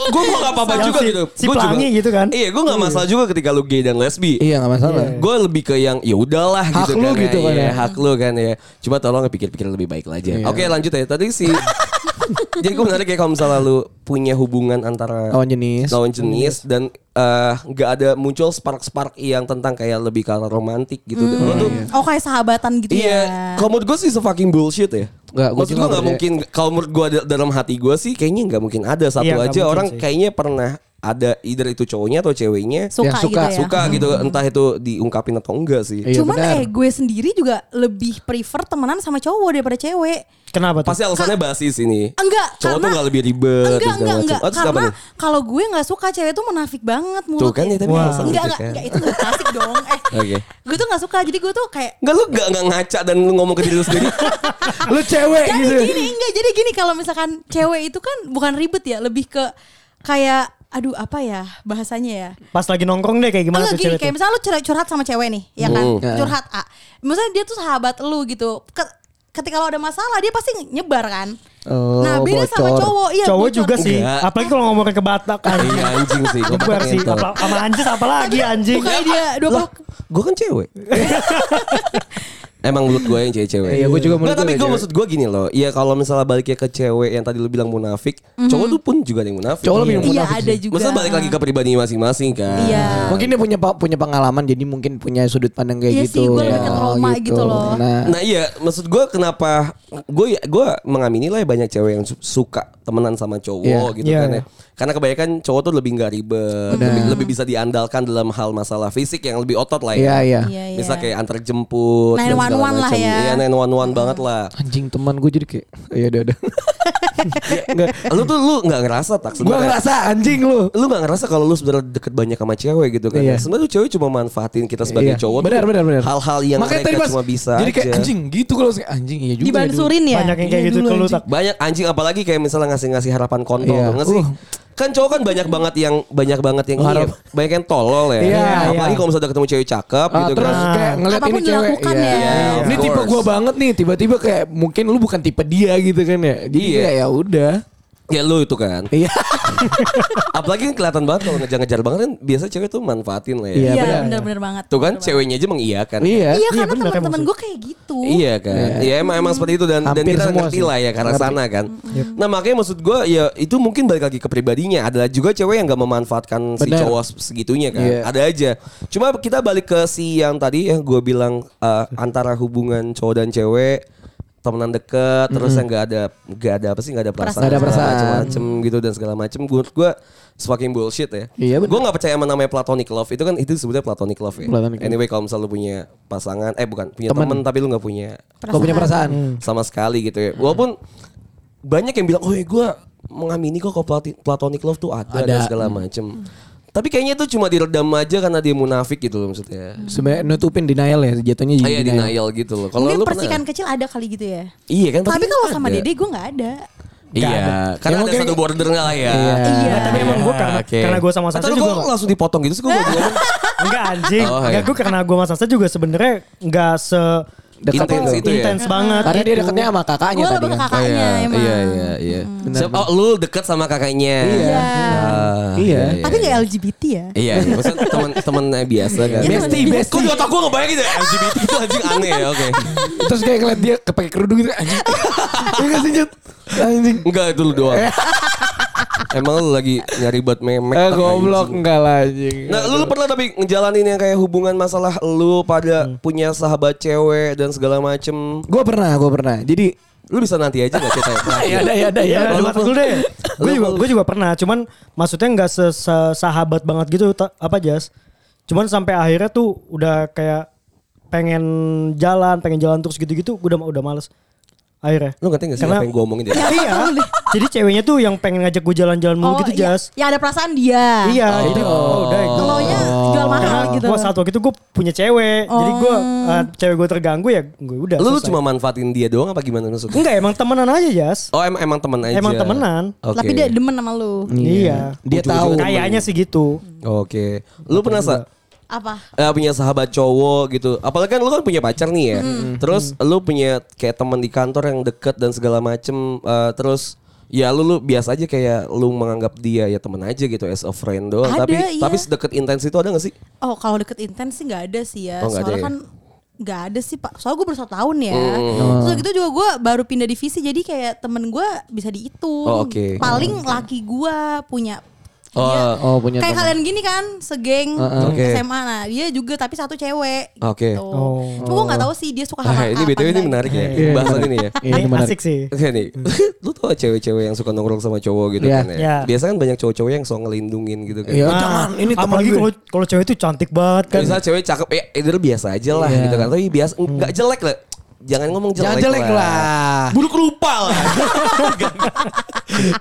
Speaker 2: Gue gak apa-apa
Speaker 4: Yang
Speaker 2: juga
Speaker 4: si-
Speaker 2: gitu.
Speaker 4: si
Speaker 2: Gua juga-
Speaker 4: pelangi gitu kan.
Speaker 2: Iya, gue gak masalah juga ketika lu gay dan lesbi.
Speaker 3: Iya nggak masalah.
Speaker 2: Gue lebih ke yang ya udahlah
Speaker 3: Hak
Speaker 2: gitu
Speaker 3: lu
Speaker 2: kan.
Speaker 3: gitu kan
Speaker 2: ya.
Speaker 3: ya.
Speaker 2: Iya, hak lu kan ya. Cuma tolong pikir-pikir lebih baik lah aja.
Speaker 3: Iya.
Speaker 2: Oke, lanjut ya. Tadi si Jadi gue menarik ya kalau misalnya lu punya hubungan antara
Speaker 3: Lawan jenis.
Speaker 2: lawan jenis dan eh, nggak ada muncul spark-spark yang tentang kayak lebih ke arah romantik gitu.
Speaker 3: Hmm.
Speaker 2: Dan lu
Speaker 3: Iya.
Speaker 2: tuh
Speaker 5: Oh kayak sahabatan gitu
Speaker 2: Iya,
Speaker 5: ya.
Speaker 2: kalau menurut gue sih se fucking bullshit ya.
Speaker 3: Nggak, gua
Speaker 2: Maksud
Speaker 3: juga
Speaker 2: gue
Speaker 3: nggak
Speaker 2: gak mungkin, kalau menurut gue dalam hati gue sih kayaknya nggak mungkin ada. Satu
Speaker 4: Iya, nggak
Speaker 2: aja
Speaker 4: mungkin
Speaker 2: orang
Speaker 4: sih.
Speaker 2: kayaknya pernah ada either itu cowoknya atau ceweknya
Speaker 5: Suka,
Speaker 3: Ya, suka,
Speaker 5: gitu ya.
Speaker 2: suka gitu entah itu diungkapin atau enggak sih.
Speaker 3: Iya,
Speaker 5: Cuman
Speaker 3: benar.
Speaker 5: eh gue sendiri juga lebih prefer temenan sama cowok daripada cewek.
Speaker 4: Kenapa tuh?
Speaker 2: Pasti alasannya basis ini.
Speaker 5: Enggak,
Speaker 2: Cowok tuh
Speaker 5: karena-
Speaker 2: gak lebih ribet dan segala
Speaker 5: Enggak, enggak,
Speaker 2: macam.
Speaker 5: enggak.
Speaker 2: Oh, terus apa
Speaker 5: Karena
Speaker 2: nih?
Speaker 5: kalau gue nggak suka cewek tuh menafik banget mulutnya.
Speaker 2: Tuh kan ya tapi
Speaker 4: Wah.
Speaker 2: alasan
Speaker 5: Enggak,
Speaker 2: gitu kan.
Speaker 5: enggak, enggak itu gak asik dong. Eh,
Speaker 2: Oke.
Speaker 5: gue tuh gak suka. Jadi gue tuh kayak
Speaker 2: Enggak lu enggak enggak ngaca dan lu ngomong ke diri lu sendiri.
Speaker 3: Lu cewek gitu.
Speaker 5: jadi gini enggak jadi gini kalau misalkan cewek itu kan bukan ribet ya lebih ke kayak aduh apa ya bahasanya ya
Speaker 4: Pas lagi nongkrong deh kayak gimana
Speaker 5: Enggak
Speaker 4: tuh
Speaker 5: gini
Speaker 4: cewek
Speaker 5: kayak
Speaker 4: tuh?
Speaker 5: misalnya lu curhat, curhat sama cewek nih ya kan
Speaker 2: Hmm.
Speaker 5: curhat A misalnya dia tuh sahabat lu gitu Ke- ketika lo ada masalah dia pasti nyebar kan
Speaker 3: Oh,
Speaker 5: nah beda sama
Speaker 3: bocor.
Speaker 5: cowok iya
Speaker 4: Cowok
Speaker 5: bocor.
Speaker 4: juga sih
Speaker 2: Enggak.
Speaker 4: Apalagi kalau ngomongin ke Batak anjing
Speaker 2: Iya anjing sih. gua
Speaker 4: Jebar sih
Speaker 2: komentar.
Speaker 4: Apa- Sama anjir apalagi anjing
Speaker 5: bukan dia dua
Speaker 2: Lah, gue kan cewek. Emang mulut gue yang cewek-cewek.
Speaker 3: Iya, gua juga mulut
Speaker 2: Nggak, tapi
Speaker 3: gua
Speaker 2: gue
Speaker 3: cewek.
Speaker 2: maksud gue gini loh. Iya kalau misalnya baliknya ke cewek yang tadi lu bilang munafik,
Speaker 5: Mhm.
Speaker 2: cowok tuh pun juga ada yang munafik.
Speaker 3: Cowok lebih
Speaker 5: iya
Speaker 3: munafik
Speaker 5: ada
Speaker 3: sih.
Speaker 5: juga
Speaker 2: Maksudnya balik lagi ke pribadi masing-masing kan.
Speaker 5: iya
Speaker 3: Mungkin dia punya pa- punya pengalaman jadi mungkin punya sudut pandang kayak
Speaker 5: Iya sih,
Speaker 3: gitu.
Speaker 5: gua lebih ke trauma gitu loh.
Speaker 3: Nah,
Speaker 2: Nah iya, maksud gue kenapa gue gue mengamini lah ya banyak cewek yang su- suka temenan sama cowok
Speaker 3: Iya.
Speaker 2: gitu
Speaker 4: Iya,
Speaker 2: kan ya.
Speaker 4: iya.
Speaker 2: Karena kebanyakan cowok tuh lebih nggak ribet, lebih, lebih bisa diandalkan dalam hal masalah fisik yang lebih otot lah ya.
Speaker 3: iya iya.
Speaker 5: Iya, iya.
Speaker 2: Bisa kayak antar jemput, dan
Speaker 5: 911
Speaker 2: segala
Speaker 5: lah
Speaker 2: macam.
Speaker 5: ya.
Speaker 2: Iya, 911 banget lah.
Speaker 3: Anjing teman gue jadi kayak iya udah udah.
Speaker 5: Iya.
Speaker 3: Enggak.
Speaker 2: lu tuh lu nggak ngerasa tak
Speaker 3: Gua
Speaker 2: sebenarnya
Speaker 3: ngerasa anjing lu.
Speaker 2: lu nggak ngerasa kalau lu sebenarnya deket banyak sama cewek gitu kan
Speaker 3: Iya.
Speaker 2: sebenarnya tuh cewek cuma manfaatin kita sebagai
Speaker 3: Iya.
Speaker 2: cowok tuh
Speaker 3: Benar, benar, benar.
Speaker 2: hal-hal yang
Speaker 3: Makanya tadi
Speaker 2: mereka
Speaker 3: pas-
Speaker 2: cuma bisa
Speaker 3: Jadi kayak
Speaker 2: aja.
Speaker 3: anjing gitu kalau saya- anjing iya juga.
Speaker 5: dibansurin ya
Speaker 4: Banyak yang kayak
Speaker 3: Iya,
Speaker 4: gitu
Speaker 3: dulu
Speaker 4: ke lu
Speaker 3: anjing.
Speaker 4: tak
Speaker 2: banyak anjing apalagi kayak misalnya ngasih-ngasih harapan kontol tau
Speaker 3: Iya.
Speaker 2: nggak sih
Speaker 3: Uh.
Speaker 2: kan cowok kan banyak banget yang banyak banget yang iya,
Speaker 3: Harap-
Speaker 2: banyak yang tolol ya
Speaker 3: Iya,
Speaker 2: apalagi
Speaker 4: iya.
Speaker 2: kalau misalnya ketemu cewek cakep
Speaker 3: Ah,
Speaker 2: gitu
Speaker 3: terus
Speaker 2: kan
Speaker 3: kayak ngeliat
Speaker 5: Apapun
Speaker 3: ini cewek
Speaker 5: dilakukan
Speaker 3: iya.
Speaker 5: ya.
Speaker 2: Iya, of
Speaker 3: ini tipe
Speaker 2: course.
Speaker 3: gua banget nih tiba-tiba kayak mungkin lu bukan tipe dia gitu kan ya jadi
Speaker 2: Iya.
Speaker 3: kayak ya udah
Speaker 2: ya lu itu kan
Speaker 3: iya
Speaker 2: apalagi kan kelihatan banget kalau ngejar-ngejar banget kan biasa cewek tuh manfaatin lah ya
Speaker 3: Iya,
Speaker 5: iya
Speaker 3: benar.
Speaker 5: bener-bener banget
Speaker 2: tuh kan ceweknya aja mengiyakan
Speaker 3: iya
Speaker 5: iya
Speaker 4: Iya,
Speaker 5: karena
Speaker 4: bener emang
Speaker 5: teman-teman
Speaker 4: sih.
Speaker 5: gue kayak gitu
Speaker 2: Iya kan. Ya emang emang seperti itu dan dan
Speaker 3: Hampir
Speaker 2: kita
Speaker 3: semua
Speaker 2: ngerti
Speaker 3: sih.
Speaker 2: lah ya karena
Speaker 3: Ngerti.
Speaker 2: sana kan. Nah, makanya maksud gua ya itu mungkin balik lagi ke pribadinya. Ada juga cewek yang gak memanfaatkan si
Speaker 3: Benar.
Speaker 2: cowok segitunya kan.
Speaker 3: Iya.
Speaker 2: Ada aja. Cuma kita balik ke si yang tadi yang gua bilang eh, antara hubungan cowok dan cewek temenan deket terus yang nggak ada nggak ada apa sih nggak ada perasaan
Speaker 3: Nggak ada perasaan.
Speaker 2: macam gitu dan segala macam gue gue fucking bullshit ya
Speaker 3: Iya, benar.
Speaker 2: gue nggak percaya sama namanya platonic love itu kan itu sebetulnya platonic love ya
Speaker 3: Platonic love.
Speaker 2: anyway kalau misalnya lu punya pasangan eh bukan punya
Speaker 3: Temen. Hmm.
Speaker 2: temen tapi lu nggak punya
Speaker 5: kan?
Speaker 3: kau punya perasaan
Speaker 2: sama sekali gitu ya. Walaupun banyak yang bilang, "Oh, gue mengamini kok kalau plati- platonic love tuh ada, dan
Speaker 3: Ada.
Speaker 2: segala macem." Tapi kayaknya itu cuma diredam aja karena dia munafik gitu loh maksudnya.
Speaker 5: Hmm.
Speaker 3: sebenarnya nutupin denial ya jatuhnya jadi
Speaker 2: Ah, iya, denial gitu loh. Kalau
Speaker 5: mungkin
Speaker 2: lu
Speaker 5: percikan
Speaker 2: pernah?
Speaker 5: kecil ada kali gitu ya
Speaker 2: Iya kan.
Speaker 5: tapi kalau sama
Speaker 2: ada.
Speaker 5: dede gue nggak ada
Speaker 2: Iya, karena ada
Speaker 3: Ya, mungkin-
Speaker 2: satu border nggak lah ya.
Speaker 5: Iya.
Speaker 4: Nah, tapi emang gue karena,
Speaker 2: Oke.
Speaker 4: karena gue sama
Speaker 2: Atau
Speaker 4: Sasa
Speaker 2: lu
Speaker 4: juga
Speaker 2: kok langsung dipotong gitu sih gue mau ngomong.
Speaker 4: Enggak anjing.
Speaker 2: Oh, iya.
Speaker 4: Enggak gue karena gue sama Sasa juga sebenarnya enggak se
Speaker 3: Dekat
Speaker 4: apa,
Speaker 2: itu. Itu ya?
Speaker 4: intens banget.
Speaker 3: karena dia
Speaker 4: gitu.
Speaker 3: dekatnya sama kakaknya
Speaker 5: gue
Speaker 3: tadi
Speaker 5: lebih ke
Speaker 3: kan
Speaker 5: kakaknya emang Hmm.
Speaker 2: Iya, iya, iya. Siap, oh, lu deket sama kakaknya.
Speaker 3: Iya.
Speaker 2: Ah,
Speaker 3: Iya.
Speaker 5: tapi nggak LGBT ya
Speaker 2: Iya, iya. maksudnya teman-teman biasa kan.
Speaker 5: Iya,
Speaker 3: Besti,
Speaker 5: temen-
Speaker 3: besti.
Speaker 2: Kok di otak gue ngebayangin ya LGBT itu anjing aneh ya, oke.
Speaker 3: terus kayak ngeliat dia Iya kepake kerudung gitu anjing ya nggak sih Jut? anjing
Speaker 2: Enggak itu lu doang. Emang lu lagi nyari buat memek?
Speaker 3: Eh
Speaker 2: tak,
Speaker 3: goblok
Speaker 2: anjing?
Speaker 3: enggak lah anjing.
Speaker 2: Nah, lu pernah tapi ngejalanin yang kayak hubungan masalah lu pada punya sahabat cewek dan segala macem.
Speaker 3: Gue pernah, gue pernah. Jadi
Speaker 2: Lu bisa nanti aja gak cerita yang terakhir?
Speaker 3: ya ada ya ada ya.
Speaker 4: Ya, debat dulu deh. Gue juga, gue juga pernah. Cuman maksudnya nggak sesahabat banget gitu ta- apa jas. Cuman sampai akhirnya tuh udah kayak pengen jalan, pengen jalan terus gitu-gitu. Gue udah udah males. Akhirnya.
Speaker 2: Lu ngerti gak sih
Speaker 4: Karena-
Speaker 2: apa yang gue omongin ya? dia?
Speaker 4: iya. Jadi ceweknya tuh yang pengen ngajak gue jalan-jalan mulu gitu
Speaker 5: iya.
Speaker 4: jas.
Speaker 5: Ya ada perasaan dia.
Speaker 4: Iya. Jadi oh, udah. gue-
Speaker 5: Kelonya
Speaker 2: Oh.
Speaker 5: jual mahal
Speaker 4: Karena
Speaker 5: gitu.
Speaker 4: gua saat waktu itu gue punya cewek, jadi gue cewek gue terganggu ya gue udah.
Speaker 2: Lu, lu
Speaker 4: selesai.
Speaker 2: cuma manfaatin dia doang apa gimana maksudnya?
Speaker 4: enggak emang temenan aja Jas.
Speaker 2: Oh em emang temen aja?
Speaker 4: Emang temenan.
Speaker 2: Oke.
Speaker 5: Tapi dia demen sama lu.
Speaker 4: Iya.
Speaker 3: Dia tahu.
Speaker 4: Kayaknya sih gitu.
Speaker 2: Oke. Lu pernah sa-
Speaker 5: Apa?
Speaker 2: eh, punya sahabat cowok gitu. Apalagi kan lu kan punya pacar nih ya.
Speaker 5: Mm-hmm.
Speaker 3: Mm-hmm.
Speaker 2: Terus lu punya kayak teman di kantor yang deket dan segala macem. Eh, terus ya lu lu biasa aja kayak lu menganggap dia ya teman aja gitu as a friend doang.
Speaker 5: Ada,
Speaker 2: tapi
Speaker 5: iya.
Speaker 2: tapi sedekat intens itu ada gak sih?
Speaker 5: Oh kalau deket intens sih nggak ada sih ya.
Speaker 2: Oh, nggak ada
Speaker 5: Soalnya
Speaker 2: ya? Hmm.
Speaker 5: kan nggak ada sih pak. Soalnya gue baru satu tahun ya. Terus gitu juga gue baru pindah divisi jadi kayak temen gue bisa dihitung.
Speaker 2: Oh, oke.
Speaker 5: Paling laki gue punya.
Speaker 2: Oh,
Speaker 5: Iya.
Speaker 3: oh, punya temen.
Speaker 5: Kayak kalian gini kan, segeng
Speaker 2: Uh-uh. Oke.
Speaker 5: SMA. Nah dia juga tapi satu cewek.
Speaker 2: Oke.
Speaker 5: Gitu.
Speaker 4: Oh.
Speaker 5: Cuma gue nggak tahu sih dia suka
Speaker 2: Ah,
Speaker 5: sama
Speaker 2: ini
Speaker 5: apa
Speaker 2: btw ini
Speaker 5: enggak.
Speaker 2: menarik ya
Speaker 3: Iya,
Speaker 2: bahasan
Speaker 3: iya.
Speaker 2: ini ya.
Speaker 3: Iya, ini
Speaker 4: Ini
Speaker 3: menarik.
Speaker 4: asik sih.
Speaker 2: Oke nih, lu tau gak cewek-cewek yang suka nongkrong sama cowok gitu
Speaker 3: Iya.
Speaker 2: kan ya?
Speaker 4: Iya.
Speaker 2: Biasa kan banyak cowok-cowok yang suka ngelindungin gitu kan.
Speaker 3: Iya.
Speaker 4: Nah,
Speaker 3: Jangan, ini teman
Speaker 4: apalagi
Speaker 3: gue.
Speaker 4: kalau kalau cewek itu cantik banget kan.
Speaker 2: Misalnya cewek cakep, ya itu biasa aja lah
Speaker 3: Iya. Hmm.
Speaker 2: gitu kan. Tapi biasa, nggak jelek lah. Jangan ngomong jelek,
Speaker 3: Jangan jelek lah.
Speaker 2: Buruk rupa lah.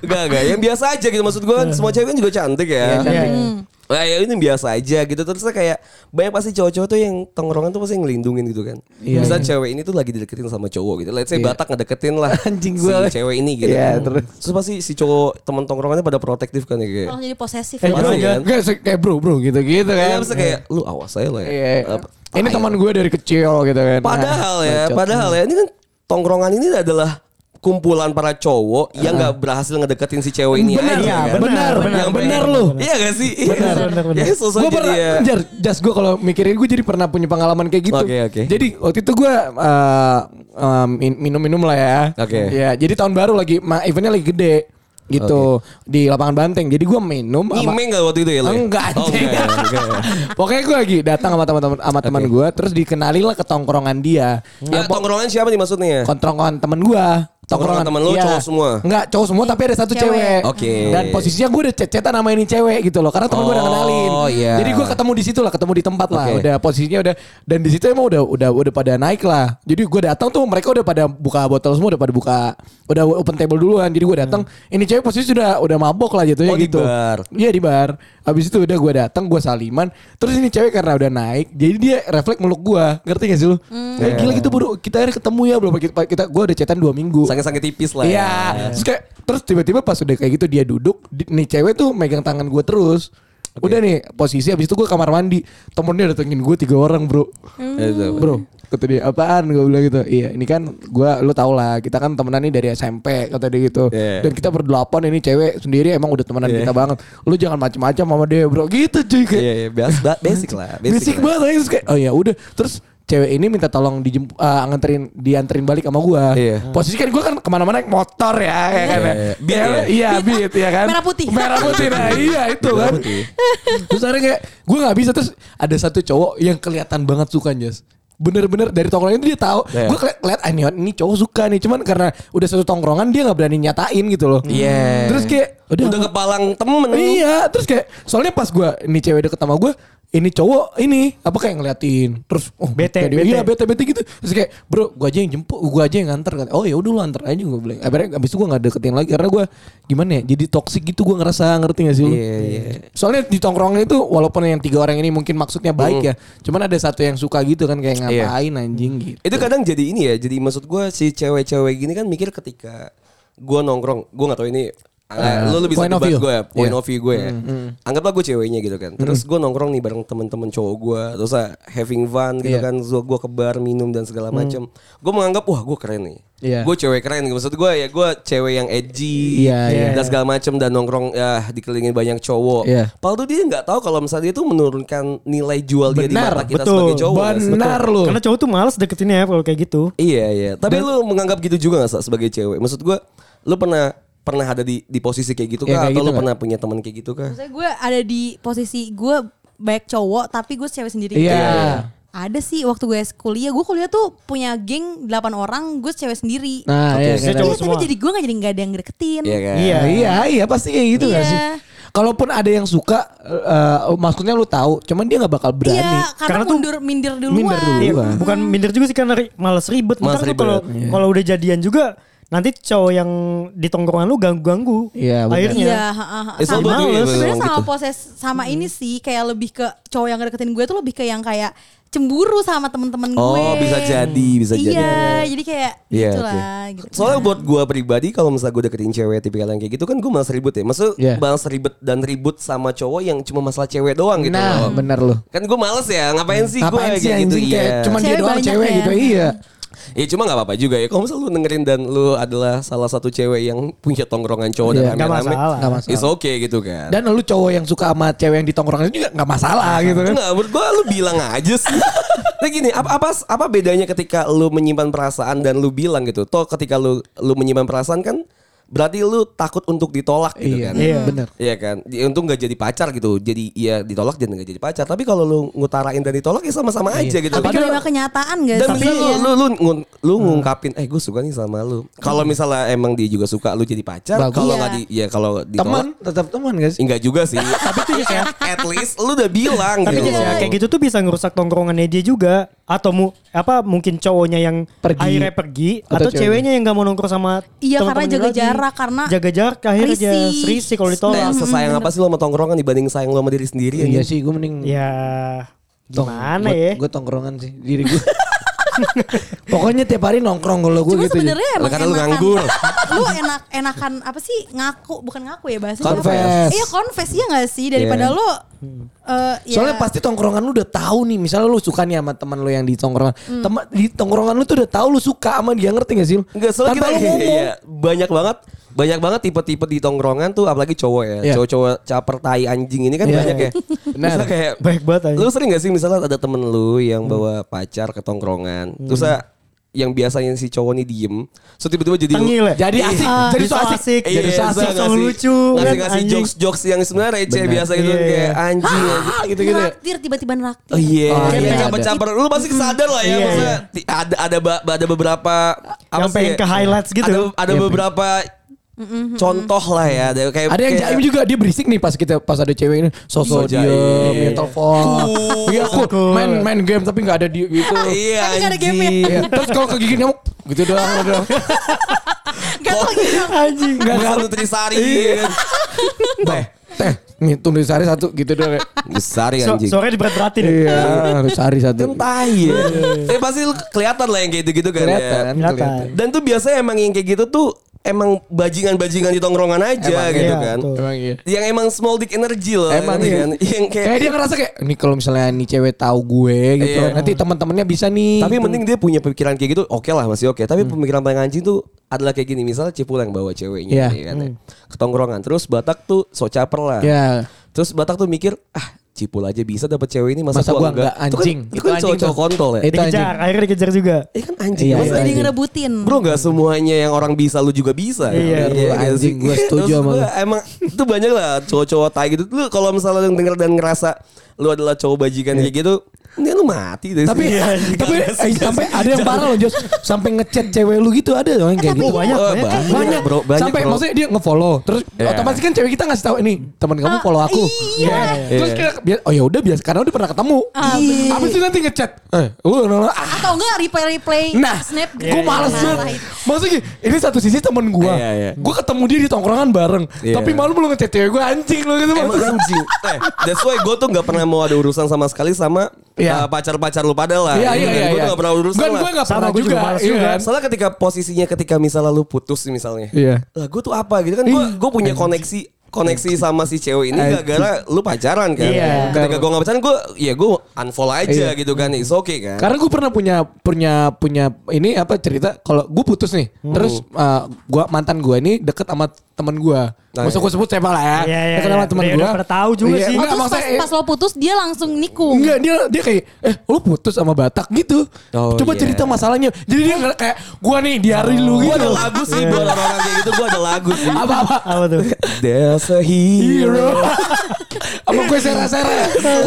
Speaker 2: Enggak, enggak. Yang biasa aja gitu. Maksud gue kan
Speaker 3: Iya.
Speaker 2: semua cewek kan juga cantik ya.
Speaker 4: Iya.
Speaker 5: Hmm.
Speaker 2: Nah, ya ini biasa aja gitu. Terus kayak banyak pasti cowok-cowok tuh yang tongkrongan tuh pasti ngelindungin gitu kan.
Speaker 3: Iya.
Speaker 2: Misalnya cewek ini tuh lagi dideketin sama cowok gitu. Let's say
Speaker 3: Iya.
Speaker 2: Batak ngedeketin lah
Speaker 3: Anjing gua.
Speaker 2: si cewek ini gitu.
Speaker 3: Iya,
Speaker 2: kan.
Speaker 3: terus. Oh, iya.
Speaker 2: terus. pasti si cowok teman tongkrongannya pada protektif kan ya kayak.
Speaker 5: Orang jadi posesif.
Speaker 4: Eh,
Speaker 5: ya.
Speaker 2: Parah ya.
Speaker 3: Kayak kayak bro bro gitu gitu
Speaker 2: Iya,
Speaker 3: kan.
Speaker 2: maksudnya kayak lu awas aja lah ya.
Speaker 3: Iya.
Speaker 2: Apa- ya?
Speaker 3: Ini teman gue dari kecil gitu kan.
Speaker 2: Padahal
Speaker 3: Ah,
Speaker 2: ya,
Speaker 3: bacot.
Speaker 2: padahal ya ini kan tongkrongan ini adalah kumpulan para cowok yang nggak berhasil ngedeketin si cewek ini
Speaker 3: Benar,
Speaker 2: aja.
Speaker 4: iya,
Speaker 2: kan?
Speaker 4: benar, benar,
Speaker 2: Yang
Speaker 4: benar,
Speaker 2: pengen-
Speaker 4: lu.
Speaker 2: Iya gak sih?
Speaker 4: Benar, benar, benar.
Speaker 2: Ya, sosok
Speaker 3: Gue
Speaker 2: jadi
Speaker 3: pernah,
Speaker 2: ya.
Speaker 3: jar, jas gue kalau mikirin gue jadi pernah punya pengalaman kayak gitu.
Speaker 2: Oke, oke.
Speaker 3: Jadi waktu itu gue eh, eh, min- minum-minum lah ya.
Speaker 2: Oke.
Speaker 3: Ya, jadi tahun baru lagi, ma- eventnya lagi gede gitu di lapangan banteng. Jadi gue minum sama-
Speaker 2: Ngimeng gak waktu itu ya? lu ya?
Speaker 3: Enggak,
Speaker 2: Oh,
Speaker 3: anjing.
Speaker 2: enggak, enggak.
Speaker 3: Pokoknya gue lagi datang sama teman-teman sama teman gue, terus dikenalin lah ke tongkrongan dia.
Speaker 2: Ya tongkrongan siapa nih maksudnya?
Speaker 3: Kontrongan temen gue.
Speaker 2: Tongkrongan Iya. temen lu cowok semua?
Speaker 3: Enggak, cowok semua tapi ada satu
Speaker 5: Cewek.
Speaker 3: cewek.
Speaker 2: Oke.
Speaker 3: Dan posisinya gue udah cecetan sama ini cewek gitu loh. Karena temen gue udah
Speaker 2: Oh,
Speaker 3: kenalin.
Speaker 2: iya.
Speaker 3: Jadi gue ketemu di situ lah, ketemu di tempat lah.
Speaker 2: Oke.
Speaker 3: Udah posisinya udah dan di situ emang udah udah udah pada naik lah. Jadi gue datang tuh mereka udah pada buka botol semua, udah pada buka udah open table duluan. Jadi gue datang, ini cewek posisi sudah udah mabok lah
Speaker 2: Hmm.
Speaker 3: jatuhnya
Speaker 2: Oh, di
Speaker 3: gitu.
Speaker 2: bar.
Speaker 3: Iya di bar. Habis itu udah gue datang, gue saliman. Terus ini cewek karena udah naik, jadi dia refleks meluk gue. Ngerti gak sih lu? Kayak gila gitu bro, kita akhirnya ketemu ya belum kita, kita gue udah cetan dua minggu.
Speaker 2: Sange-sange tipis lah ya.
Speaker 3: Iya. Terus kayak terus tiba-tiba pas udah kayak gitu dia duduk, di- nih cewek tuh megang tangan gue terus. Udah nih posisi habis itu gue kamar mandi. Temennya datengin gue tiga orang bro.
Speaker 2: Itu.
Speaker 3: Bro, kata dia apaan gue bilang gitu. Iya, ini kan gue lu tau lah kita kan temenan nih dari SMP kata dia gitu.
Speaker 2: Iya.
Speaker 3: Dan kita berdelapan ini cewek sendiri emang udah temenan
Speaker 2: Iya.
Speaker 3: kita banget. Lu jangan macam-macam sama dia bro. Gitu cuy kayak.
Speaker 2: Iya, iya, bias- ba- basic lah.
Speaker 3: Basic,
Speaker 2: lah.
Speaker 3: banget Terus kayak, oh ya udah terus cewek ini minta tolong dijem, eh, nganterin dianterin balik sama gua.
Speaker 2: Iya.
Speaker 3: Posisi kan gua kan kemana-mana naik motor ya, ya kan.
Speaker 2: Iya, iya. Beat ya?
Speaker 3: Iya, beat ya kan.
Speaker 5: Merah putih.
Speaker 3: Merah putih nah, iya itu
Speaker 2: Merah
Speaker 3: kan.
Speaker 2: putih.
Speaker 3: terus akhirnya kayak gua nggak bisa terus ada satu cowok yang kelihatan banget suka Jas. Bener-bener dari tongkrongan itu dia tahu.
Speaker 2: Iya.
Speaker 3: Gua keliat, keliat ah, ini, ini cowok suka nih, cuman karena udah satu tongkrongan dia nggak berani nyatain gitu loh.
Speaker 2: Iya.
Speaker 3: Terus kayak
Speaker 2: Udah, kepalang temen.
Speaker 3: Iya, terus kayak soalnya pas gua ini cewek deket sama gua, ini cowok ini apa kayak ngeliatin terus oh
Speaker 4: Bete,
Speaker 3: kayak dia-
Speaker 4: bete.
Speaker 3: iya bete bete gitu terus kayak bro gua aja yang jemput gua aja yang nganter kata oh ya udah lu anter aja gua bilang akhirnya abis itu gua nggak deketin lagi karena gua gimana ya jadi toksik gitu gua ngerasa ngerti gak sih lu?
Speaker 2: Iya, iya.
Speaker 3: soalnya di tongkrongan itu walaupun yang tiga orang ini mungkin maksudnya baik ya cuman ada satu yang suka gitu kan kayak
Speaker 2: Iya.
Speaker 3: ngapain anjing gitu
Speaker 2: Itu kadang jadi ini ya. Jadi maksud gue si cewek-cewek gini kan mikir ketika gue nongkrong, gue nggak tahu ini eh, lu lebih bisa
Speaker 3: Ah, point of
Speaker 2: debat
Speaker 3: view.
Speaker 2: gue ya, point
Speaker 3: Iya. Hmm.
Speaker 2: of view gue ya. Anggaplah gue ceweknya gitu kan. Terus gue nongkrong nih bareng temen-temen cowok gue, terus ah, having fun gitu
Speaker 3: Iya. Hmm.
Speaker 2: kan. Terus gue ke bar minum dan segala macam. Gue menganggap wah gue keren nih.
Speaker 3: Iya.
Speaker 2: Gue cewek keren, maksud gue ya gue cewek yang edgy
Speaker 3: Iya, iya.
Speaker 2: dan segala macam dan nongkrong ya dikelilingin banyak cowok.
Speaker 3: Iya.
Speaker 2: Padahal tuh dia nggak tahu kalau misalnya dia tuh menurunkan nilai jual dia di
Speaker 3: Benar,
Speaker 2: mata kita
Speaker 4: betul.
Speaker 2: sebagai cowok.
Speaker 3: benar lu
Speaker 4: Karena cowok tuh males deketin ya kalau kayak gitu.
Speaker 2: Iya iya. Tapi lu menganggap gitu juga gak Sa, sebagai cewek? Maksud gua lu pernah pernah ada di di posisi kayak gitu kah
Speaker 3: Iya, kayak
Speaker 2: atau lu
Speaker 3: gitu nggak?
Speaker 2: pernah punya teman kayak gitu kah?
Speaker 5: Maksudnya gue ada di posisi gue baik cowok tapi gue cewek sendiri.
Speaker 3: Iya.
Speaker 5: Ada sih waktu gue kuliah, gue kuliah tuh punya geng 8 orang, gue cewek sendiri.
Speaker 3: Nah,
Speaker 2: Oke,
Speaker 3: iya, kan?
Speaker 4: saya
Speaker 5: Iya,
Speaker 4: cowok
Speaker 5: tapi
Speaker 4: semua.
Speaker 5: jadi gue gak jadi gak ada yang deketin.
Speaker 2: Iya kan?
Speaker 4: Iya.
Speaker 3: Nah, iya, iya pasti kayak gitu nggak
Speaker 5: Iya.
Speaker 3: sih? Kalaupun ada yang suka, eh, eh, maksudnya lu tahu, cuman dia nggak bakal berani.
Speaker 5: Iya, karena,
Speaker 4: Karena tuh
Speaker 5: mundur minder duluan.
Speaker 3: minder dulu.
Speaker 4: Iya,
Speaker 3: Duluan.
Speaker 4: bukan minder juga sih karena ri- malas ribet.
Speaker 2: Malas
Speaker 4: Malas tuh kalau
Speaker 3: Iya.
Speaker 4: kalau udah jadian juga nanti cowok yang di tongkrongan lu ganggu-ganggu.
Speaker 3: Iya, benar.
Speaker 4: akhirnya.
Speaker 5: Iya, heeh.
Speaker 2: Eh,
Speaker 5: Sama-
Speaker 2: sobat juga ya,
Speaker 5: Sebenarnya
Speaker 2: memang
Speaker 5: sama
Speaker 2: gitu.
Speaker 5: proses sama ini sih kayak lebih ke cowok yang deketin gue tuh lebih ke yang kayak cemburu sama temen-temen
Speaker 2: Oh,
Speaker 5: gue.
Speaker 2: bisa jadi, bisa
Speaker 5: iya,
Speaker 2: jadi.
Speaker 5: jadi kayak
Speaker 2: Iya,
Speaker 5: gitu
Speaker 2: oke.
Speaker 5: lah. Gitu.
Speaker 2: Soalnya buat gua pribadi kalau misalnya gua deketin cewek tipikal yang kayak gitu kan gua malas ribut ya. Maksudnya
Speaker 3: Iya.
Speaker 2: malas ribet dan ribut sama cowok yang cuma masalah cewek doang gitu. loh.
Speaker 3: nah, bener lu.
Speaker 2: Kan gua males ya, ngapain sih gua
Speaker 3: Ngapain sih
Speaker 2: kayak gitu.
Speaker 3: anjing kayak
Speaker 2: Iya.
Speaker 3: cuman dia
Speaker 5: Cewek
Speaker 3: doang
Speaker 5: banyak
Speaker 3: cewek
Speaker 5: ya.
Speaker 3: gitu. Iya.
Speaker 2: Ya cuma nggak apa-apa juga ya. Kalau misalnya lu dengerin dan lu adalah salah satu cewek yang punya tongkrongan cowok
Speaker 3: Iya,
Speaker 2: dan
Speaker 4: nggak
Speaker 2: rame-rame,
Speaker 4: masalah.
Speaker 3: Nggak masalah.
Speaker 2: it's okay gitu kan.
Speaker 3: Dan lu cowok yang suka sama cewek yang di tongkrongan itu juga nggak masalah gitu kan.
Speaker 2: Enggak, menurut gua lu bilang aja sih. Nah gini, apa, apa apa bedanya ketika lu menyimpan perasaan dan lu bilang gitu. Toh ketika lu lu menyimpan perasaan kan berarti lu takut untuk ditolak gitu
Speaker 3: Iya,
Speaker 2: kan.
Speaker 3: iya, bener.
Speaker 2: Iya kan. Ya, Untung nggak jadi pacar gitu. Jadi iya ditolak dan nggak jadi pacar. Tapi kalau lu ngutarain dan ditolak ya sama-sama aja gitu.
Speaker 5: Tapi kan menerima kenyataan gak
Speaker 2: Dan
Speaker 5: sih?
Speaker 2: misalnya lu, lu, lu, ngun- lu ngungkapin, eh gue suka nih sama lu. Kalau misalnya emang dia juga suka, lu jadi pacar.
Speaker 3: Bagus.
Speaker 2: Kalau
Speaker 5: Iya.
Speaker 2: nggak di, ya kalau
Speaker 3: Teman,
Speaker 2: ditolak,
Speaker 3: tetap teman gak sih?
Speaker 2: enggak juga sih. Tapi tuh ya, at least lu udah bilang
Speaker 4: Tapi
Speaker 3: Iya.
Speaker 2: gitu.
Speaker 4: ya, kayak gitu tuh bisa ngerusak tongkrongannya dia juga atau mu, apa mungkin cowoknya yang
Speaker 3: Pergi.
Speaker 4: akhirnya pergi
Speaker 3: Atau
Speaker 4: atau,
Speaker 3: ceweknya.
Speaker 4: ceweknya yang gak mau nongkrong sama
Speaker 5: Iya,
Speaker 4: teman-temannya
Speaker 5: karena jaga
Speaker 4: lagi.
Speaker 5: jarak, karena
Speaker 4: jaga jarak akhirnya dia
Speaker 5: risih.
Speaker 4: serisi kalau
Speaker 2: Nah,
Speaker 4: ditolak.
Speaker 2: sesayang apa sih lo sama tongkrongan dibanding sayang lo sama diri sendiri
Speaker 3: Iya
Speaker 2: ya?
Speaker 3: sih, gue mending
Speaker 4: Ya gimana ya?
Speaker 3: Gue tongkrongan sih diri gue. Pokoknya tiap hari nongkrong kalau gue
Speaker 5: Cuma
Speaker 3: gitu.
Speaker 5: sebenarnya emang
Speaker 2: Karena lu
Speaker 5: enakan-
Speaker 2: nganggur.
Speaker 5: lu enak enakan apa sih ngaku bukan ngaku ya bahasanya. apa?
Speaker 3: Confess.
Speaker 5: Iya confess ya gak sih daripada
Speaker 2: Iya.
Speaker 5: lu eh, ya-
Speaker 3: Soalnya pasti tongkrongan lu udah tahu nih, misalnya lu suka nih sama teman lu yang di tongkrongan. Teman di tongkrongan lu tuh udah tahu lu suka sama dia ngerti gak sih lu?
Speaker 2: Enggak, soalnya
Speaker 3: Tanpa
Speaker 2: kita
Speaker 3: lu ngomong.
Speaker 2: iya, banyak banget banyak banget tipe-tipe di tongkrongan tuh apalagi cowok ya.
Speaker 3: Iya.
Speaker 2: Cowok-cowok caper tai anjing ini kan
Speaker 3: Iya.
Speaker 2: banyak ya.
Speaker 3: Benar.
Speaker 2: Misalnya kayak
Speaker 4: Baik banget Hmm. aja.
Speaker 2: Lu sering gak sih misalnya ada temen lu yang bawa pacar ke tongkrongan.
Speaker 4: Hmm.
Speaker 2: Terus ah, yang biasanya si cowok nih diem. So tiba-tiba jadi
Speaker 4: Tengil ya?
Speaker 3: Jadi asik,
Speaker 4: Ah,
Speaker 3: jadi so asik.
Speaker 2: Iya,
Speaker 4: jadi so asik,
Speaker 2: misalnya
Speaker 4: so
Speaker 2: ngasih-
Speaker 4: lucu.
Speaker 2: ngasih
Speaker 4: kan,
Speaker 2: ngasih
Speaker 4: anjing.
Speaker 2: jokes jokes yang sebenarnya receh
Speaker 3: Benar.
Speaker 2: biasa gitu
Speaker 4: Iya, iya.
Speaker 2: kayak anjing anjing.
Speaker 3: Ah, gitu-gitu ya.
Speaker 5: Nraktir, tiba-tiba nraktir.
Speaker 2: Oh iya,
Speaker 3: Oh,
Speaker 2: Jangan
Speaker 3: iya, ada.
Speaker 2: caper-caper. Lu pasti sadar lah ya,
Speaker 4: Iya,
Speaker 2: maksudnya ti- ada ada ba- ada beberapa apa
Speaker 4: Yang
Speaker 2: sih
Speaker 4: pengen
Speaker 2: ya?
Speaker 4: ke highlights gitu.
Speaker 2: Ada, ada beberapa contoh lah ya. Ada kayak
Speaker 3: Ada yang
Speaker 2: kayak-
Speaker 3: jaim juga dia berisik nih pas kita pas ada cewek ini sosok
Speaker 2: Iya,
Speaker 3: dia
Speaker 2: jaim.
Speaker 3: main telepon.
Speaker 2: Cool.
Speaker 3: Iya aku
Speaker 4: Cool.
Speaker 3: main main game tapi nggak ada dia gitu.
Speaker 2: Iya,
Speaker 5: Tapi gak ada
Speaker 2: anjing.
Speaker 5: game-nya.
Speaker 3: Iya. Terus kalau kegigit nyamuk gitu doang udah.
Speaker 5: Gak tau gitu.
Speaker 4: Anjing. Iya.
Speaker 2: Enggak satu Trisari. ya kan? Teh,
Speaker 3: Teh, nih tunggu sehari satu gitu doang.
Speaker 2: Trisari
Speaker 3: ya,
Speaker 4: So,
Speaker 2: anjing.
Speaker 4: suaranya diberat-beratin. ya.
Speaker 3: Iya, harus sehari
Speaker 2: Kan
Speaker 3: satu.
Speaker 2: tai
Speaker 4: Iya.
Speaker 2: ya. Tapi pasti lu kelihatan lah yang kayak gitu-gitu kan ya.
Speaker 3: Kelihatan, kelihatan.
Speaker 4: Kelihatan.
Speaker 2: Dan tuh biasanya emang yang kayak gitu tuh emang bajingan-bajingan di tongkrongan aja
Speaker 3: Emang,
Speaker 2: gitu
Speaker 4: iya,
Speaker 2: kan.
Speaker 4: betul.
Speaker 3: Emang iya.
Speaker 2: Yang emang small dick energy loh.
Speaker 3: Emang
Speaker 2: ngerti
Speaker 3: iya.
Speaker 2: kan? Yang kayak,
Speaker 3: Kayak dia ngerasa kayak ini kalau misalnya nih cewek tahu gue gitu,
Speaker 2: Iya.
Speaker 3: nanti teman-temannya bisa nih.
Speaker 2: Tapi mending dia punya pemikiran kayak gitu, oke lah masih oke.
Speaker 3: Hmm.
Speaker 2: Tapi pemikiran paling anjing tuh adalah kayak gini, misalnya Cipul yang bawa ceweknya
Speaker 3: Iya.
Speaker 2: ya kan ya. Ke tongkrongan. Terus Batak tuh so caper lah.
Speaker 3: ya
Speaker 2: Terus Batak tuh mikir, ah Cipul aja bisa dapat cewek ini masa,
Speaker 3: Masa
Speaker 2: gua,
Speaker 3: gua
Speaker 2: enggak.
Speaker 3: enggak,
Speaker 2: Itu kan-
Speaker 3: anjing.
Speaker 2: Itu
Speaker 3: Itu
Speaker 2: kan,
Speaker 3: anjing
Speaker 2: cowok-cowok
Speaker 3: tuh.
Speaker 2: kontol ya.
Speaker 3: Itu
Speaker 4: Dikejar,
Speaker 3: anjing.
Speaker 4: akhirnya dikejar juga.
Speaker 2: Iya kan anjing.
Speaker 3: Iya,
Speaker 2: masa
Speaker 5: Masa
Speaker 2: dia
Speaker 5: dia ngerebutin.
Speaker 2: Bro gak semuanya yang orang bisa lu juga bisa
Speaker 4: Iya,
Speaker 2: Iya,
Speaker 3: bro,
Speaker 2: iya
Speaker 3: anjing,
Speaker 2: sih.
Speaker 3: gua setuju
Speaker 2: Terus
Speaker 3: sama
Speaker 2: gua
Speaker 3: lu.
Speaker 2: Emang itu banyak lah cowok-cowok tai gitu Lu kalau misalnya lu denger dan ngerasa Lu adalah cowok bajikan kayak gitu Ini lu mati dari
Speaker 3: Iya. Tapi
Speaker 2: sini.
Speaker 3: tapi
Speaker 2: Gak
Speaker 3: eh,
Speaker 2: sih.
Speaker 3: sampai ada yang parah loh Jos, sampai ngechat cewek lu gitu ada loh yang kayak
Speaker 5: tapi
Speaker 3: gitu.
Speaker 5: iya.
Speaker 4: Banyak,
Speaker 2: Oh,
Speaker 4: banyak.
Speaker 2: banyak,
Speaker 3: Banyak,
Speaker 2: bro, banyak
Speaker 3: sampai
Speaker 2: bro.
Speaker 3: maksudnya dia ngefollow terus
Speaker 2: Iya.
Speaker 3: otomatis kan cewek kita ngasih tahu ini teman kamu
Speaker 5: Ah,
Speaker 3: follow aku
Speaker 5: iya.
Speaker 3: Iya. terus kayak biar- oh ya udah biasa karena udah pernah ketemu
Speaker 5: Ah,
Speaker 3: Iya. abis itu nanti ngechat eh lu no, no, ah.
Speaker 5: Atau enggak replay-replay
Speaker 3: nah
Speaker 5: snap gitu.
Speaker 3: gue males
Speaker 5: Nah,
Speaker 3: banget
Speaker 5: lain.
Speaker 3: maksudnya gini, ini satu sisi temen gue
Speaker 2: Iya, iya.
Speaker 3: gue ketemu dia di tongkrongan bareng
Speaker 2: Iya.
Speaker 3: tapi malu belum ngechat cewek gue anjing lu gitu
Speaker 2: Emang
Speaker 3: maksudnya.
Speaker 2: anjing. Eh, that's why gue tuh gak pernah mau ada urusan sama sekali sama
Speaker 3: Iya.
Speaker 2: uh, pacar-pacar lu pada lah.
Speaker 3: Iya iya iya.
Speaker 2: Gue tuh gak pernah urusan
Speaker 3: Kan
Speaker 2: lah.
Speaker 3: gue gak
Speaker 4: Sama,
Speaker 3: pernah
Speaker 4: gua juga
Speaker 3: juga.
Speaker 4: males
Speaker 3: iya
Speaker 4: juga.
Speaker 3: kan?
Speaker 2: Soalnya ketika posisinya ketika misalnya lu putus nih misalnya.
Speaker 3: Iya.
Speaker 2: Lah gue tuh apa gitu kan. Gue gue punya koneksi koneksi sama si cewek ini gara-gara lu pacaran kan.
Speaker 4: Iya.
Speaker 2: Ketika gue gak pacaran gue ya gue unfollow aja
Speaker 3: Iya.
Speaker 2: gitu kan. It's okay kan.
Speaker 3: Karena gue pernah punya punya punya ini
Speaker 4: Hmm.
Speaker 3: eh, apa cerita kalau gue putus nih, terus uh, gua mantan gue ini deket sama teman gue.
Speaker 2: Nah,
Speaker 3: Maksud gue sebut siapa lah ya.
Speaker 4: Iya, iya,
Speaker 3: Dia kenal
Speaker 4: iya.
Speaker 3: sama teman
Speaker 4: Dia
Speaker 3: gue.
Speaker 4: udah pada tahu juga sih.
Speaker 5: Oh,
Speaker 3: Enggak,
Speaker 5: terus pas,
Speaker 3: maksudnya,
Speaker 5: pas lo putus dia langsung nikung.
Speaker 3: enggak Iya, dia dia kayak eh lu putus sama Batak gitu.
Speaker 2: Oh,
Speaker 3: Coba
Speaker 2: iya.
Speaker 3: cerita masalahnya. Jadi dia nge- kayak gua nih diari lu
Speaker 2: Gue
Speaker 3: gitu.
Speaker 2: ada lagu sih buat orang-orang kayak gitu. Gue ada lagu sih.
Speaker 3: Apa apa
Speaker 4: Apa tuh?
Speaker 2: There's a hero.
Speaker 3: hero. Apa gue sera-sera?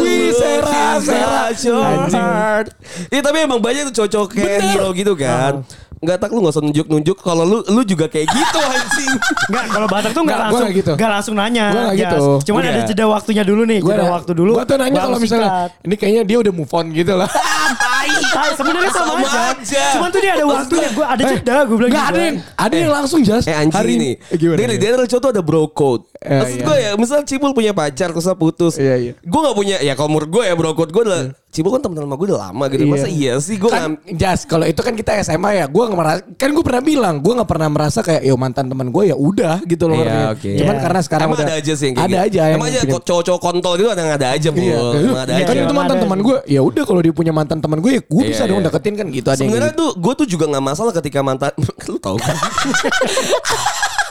Speaker 3: Wih sera-sera.
Speaker 2: your
Speaker 3: Anjing.
Speaker 2: heart. Iya tapi emang banyak tuh cocok kayak hero gitu kan.
Speaker 3: Nah.
Speaker 2: Enggak tak lu gak usah nunjuk-nunjuk kalau lu lu juga kayak gitu anjing.
Speaker 4: Enggak, kalau Batak
Speaker 3: Enggak,
Speaker 4: tuh enggak
Speaker 3: gua
Speaker 4: langsung
Speaker 3: nggak gitu.
Speaker 4: enggak langsung nanya.
Speaker 3: Gua nggak
Speaker 4: Jas.
Speaker 3: gitu.
Speaker 4: Cuman ada
Speaker 2: Enggak.
Speaker 4: jeda waktunya dulu nih,
Speaker 3: Gua
Speaker 4: jeda
Speaker 3: ada-
Speaker 4: waktu dulu.
Speaker 3: Gua tuh nanya
Speaker 4: baru
Speaker 3: kalau misalnya
Speaker 4: sikat.
Speaker 3: ini kayaknya dia udah move on gitu lah.
Speaker 4: Tai, sebenarnya sama,
Speaker 2: Sama
Speaker 4: aja.
Speaker 2: aja.
Speaker 4: Cuman tuh dia ada waktunya, gua
Speaker 3: Eh,
Speaker 4: ada jeda, gua bilang
Speaker 3: Enggak
Speaker 4: gitu.
Speaker 3: ada yang ada yang langsung jas.
Speaker 2: Eh anjing ini.
Speaker 3: Eh, Gimana?
Speaker 2: Dari
Speaker 3: gimana?
Speaker 2: daerah contoh ada bro code.
Speaker 3: Eh,
Speaker 2: Maksud
Speaker 3: iya.
Speaker 2: gue ya, misal Cibul punya pacar terus dia putus.
Speaker 3: Iya, iya.
Speaker 2: Gue gak punya, ya kalau menurut gue ya bro code gue adalah, Cibul kan teman-teman sama gue udah lama gitu. Masa iya sih gue
Speaker 3: kan,
Speaker 2: kan,
Speaker 3: Jas, kalau itu kan kita SMA ya. Gua nggak merasa kan gue pernah bilang, gua nggak pernah merasa kayak yo mantan teman gue ya udah gitu loh.
Speaker 2: Iya,
Speaker 3: ngerti nggak?
Speaker 2: oke.
Speaker 3: Cuman
Speaker 4: Iya.
Speaker 3: karena sekarang
Speaker 2: emang
Speaker 3: udah
Speaker 2: ada aja sih yang kayak
Speaker 3: ada
Speaker 2: gitu.
Speaker 3: aja yang
Speaker 2: Emang aja
Speaker 3: punya-
Speaker 2: kok cowok-cowok kontol gitu ada ada aja Bul.
Speaker 3: Iya.
Speaker 2: Emang ada
Speaker 3: Kan
Speaker 2: aja.
Speaker 3: itu
Speaker 4: Emang
Speaker 3: mantan
Speaker 4: ada
Speaker 3: teman
Speaker 4: aja.
Speaker 3: gue. Ya udah kalau dia punya mantan teman gue ya gue
Speaker 2: Iya,
Speaker 3: bisa dong
Speaker 2: iya.
Speaker 3: deketin kan gitu ada yang
Speaker 2: Sebenarnya
Speaker 3: kayak gitu.
Speaker 2: tuh gue tuh juga nggak masalah ketika mantan lu tau kan.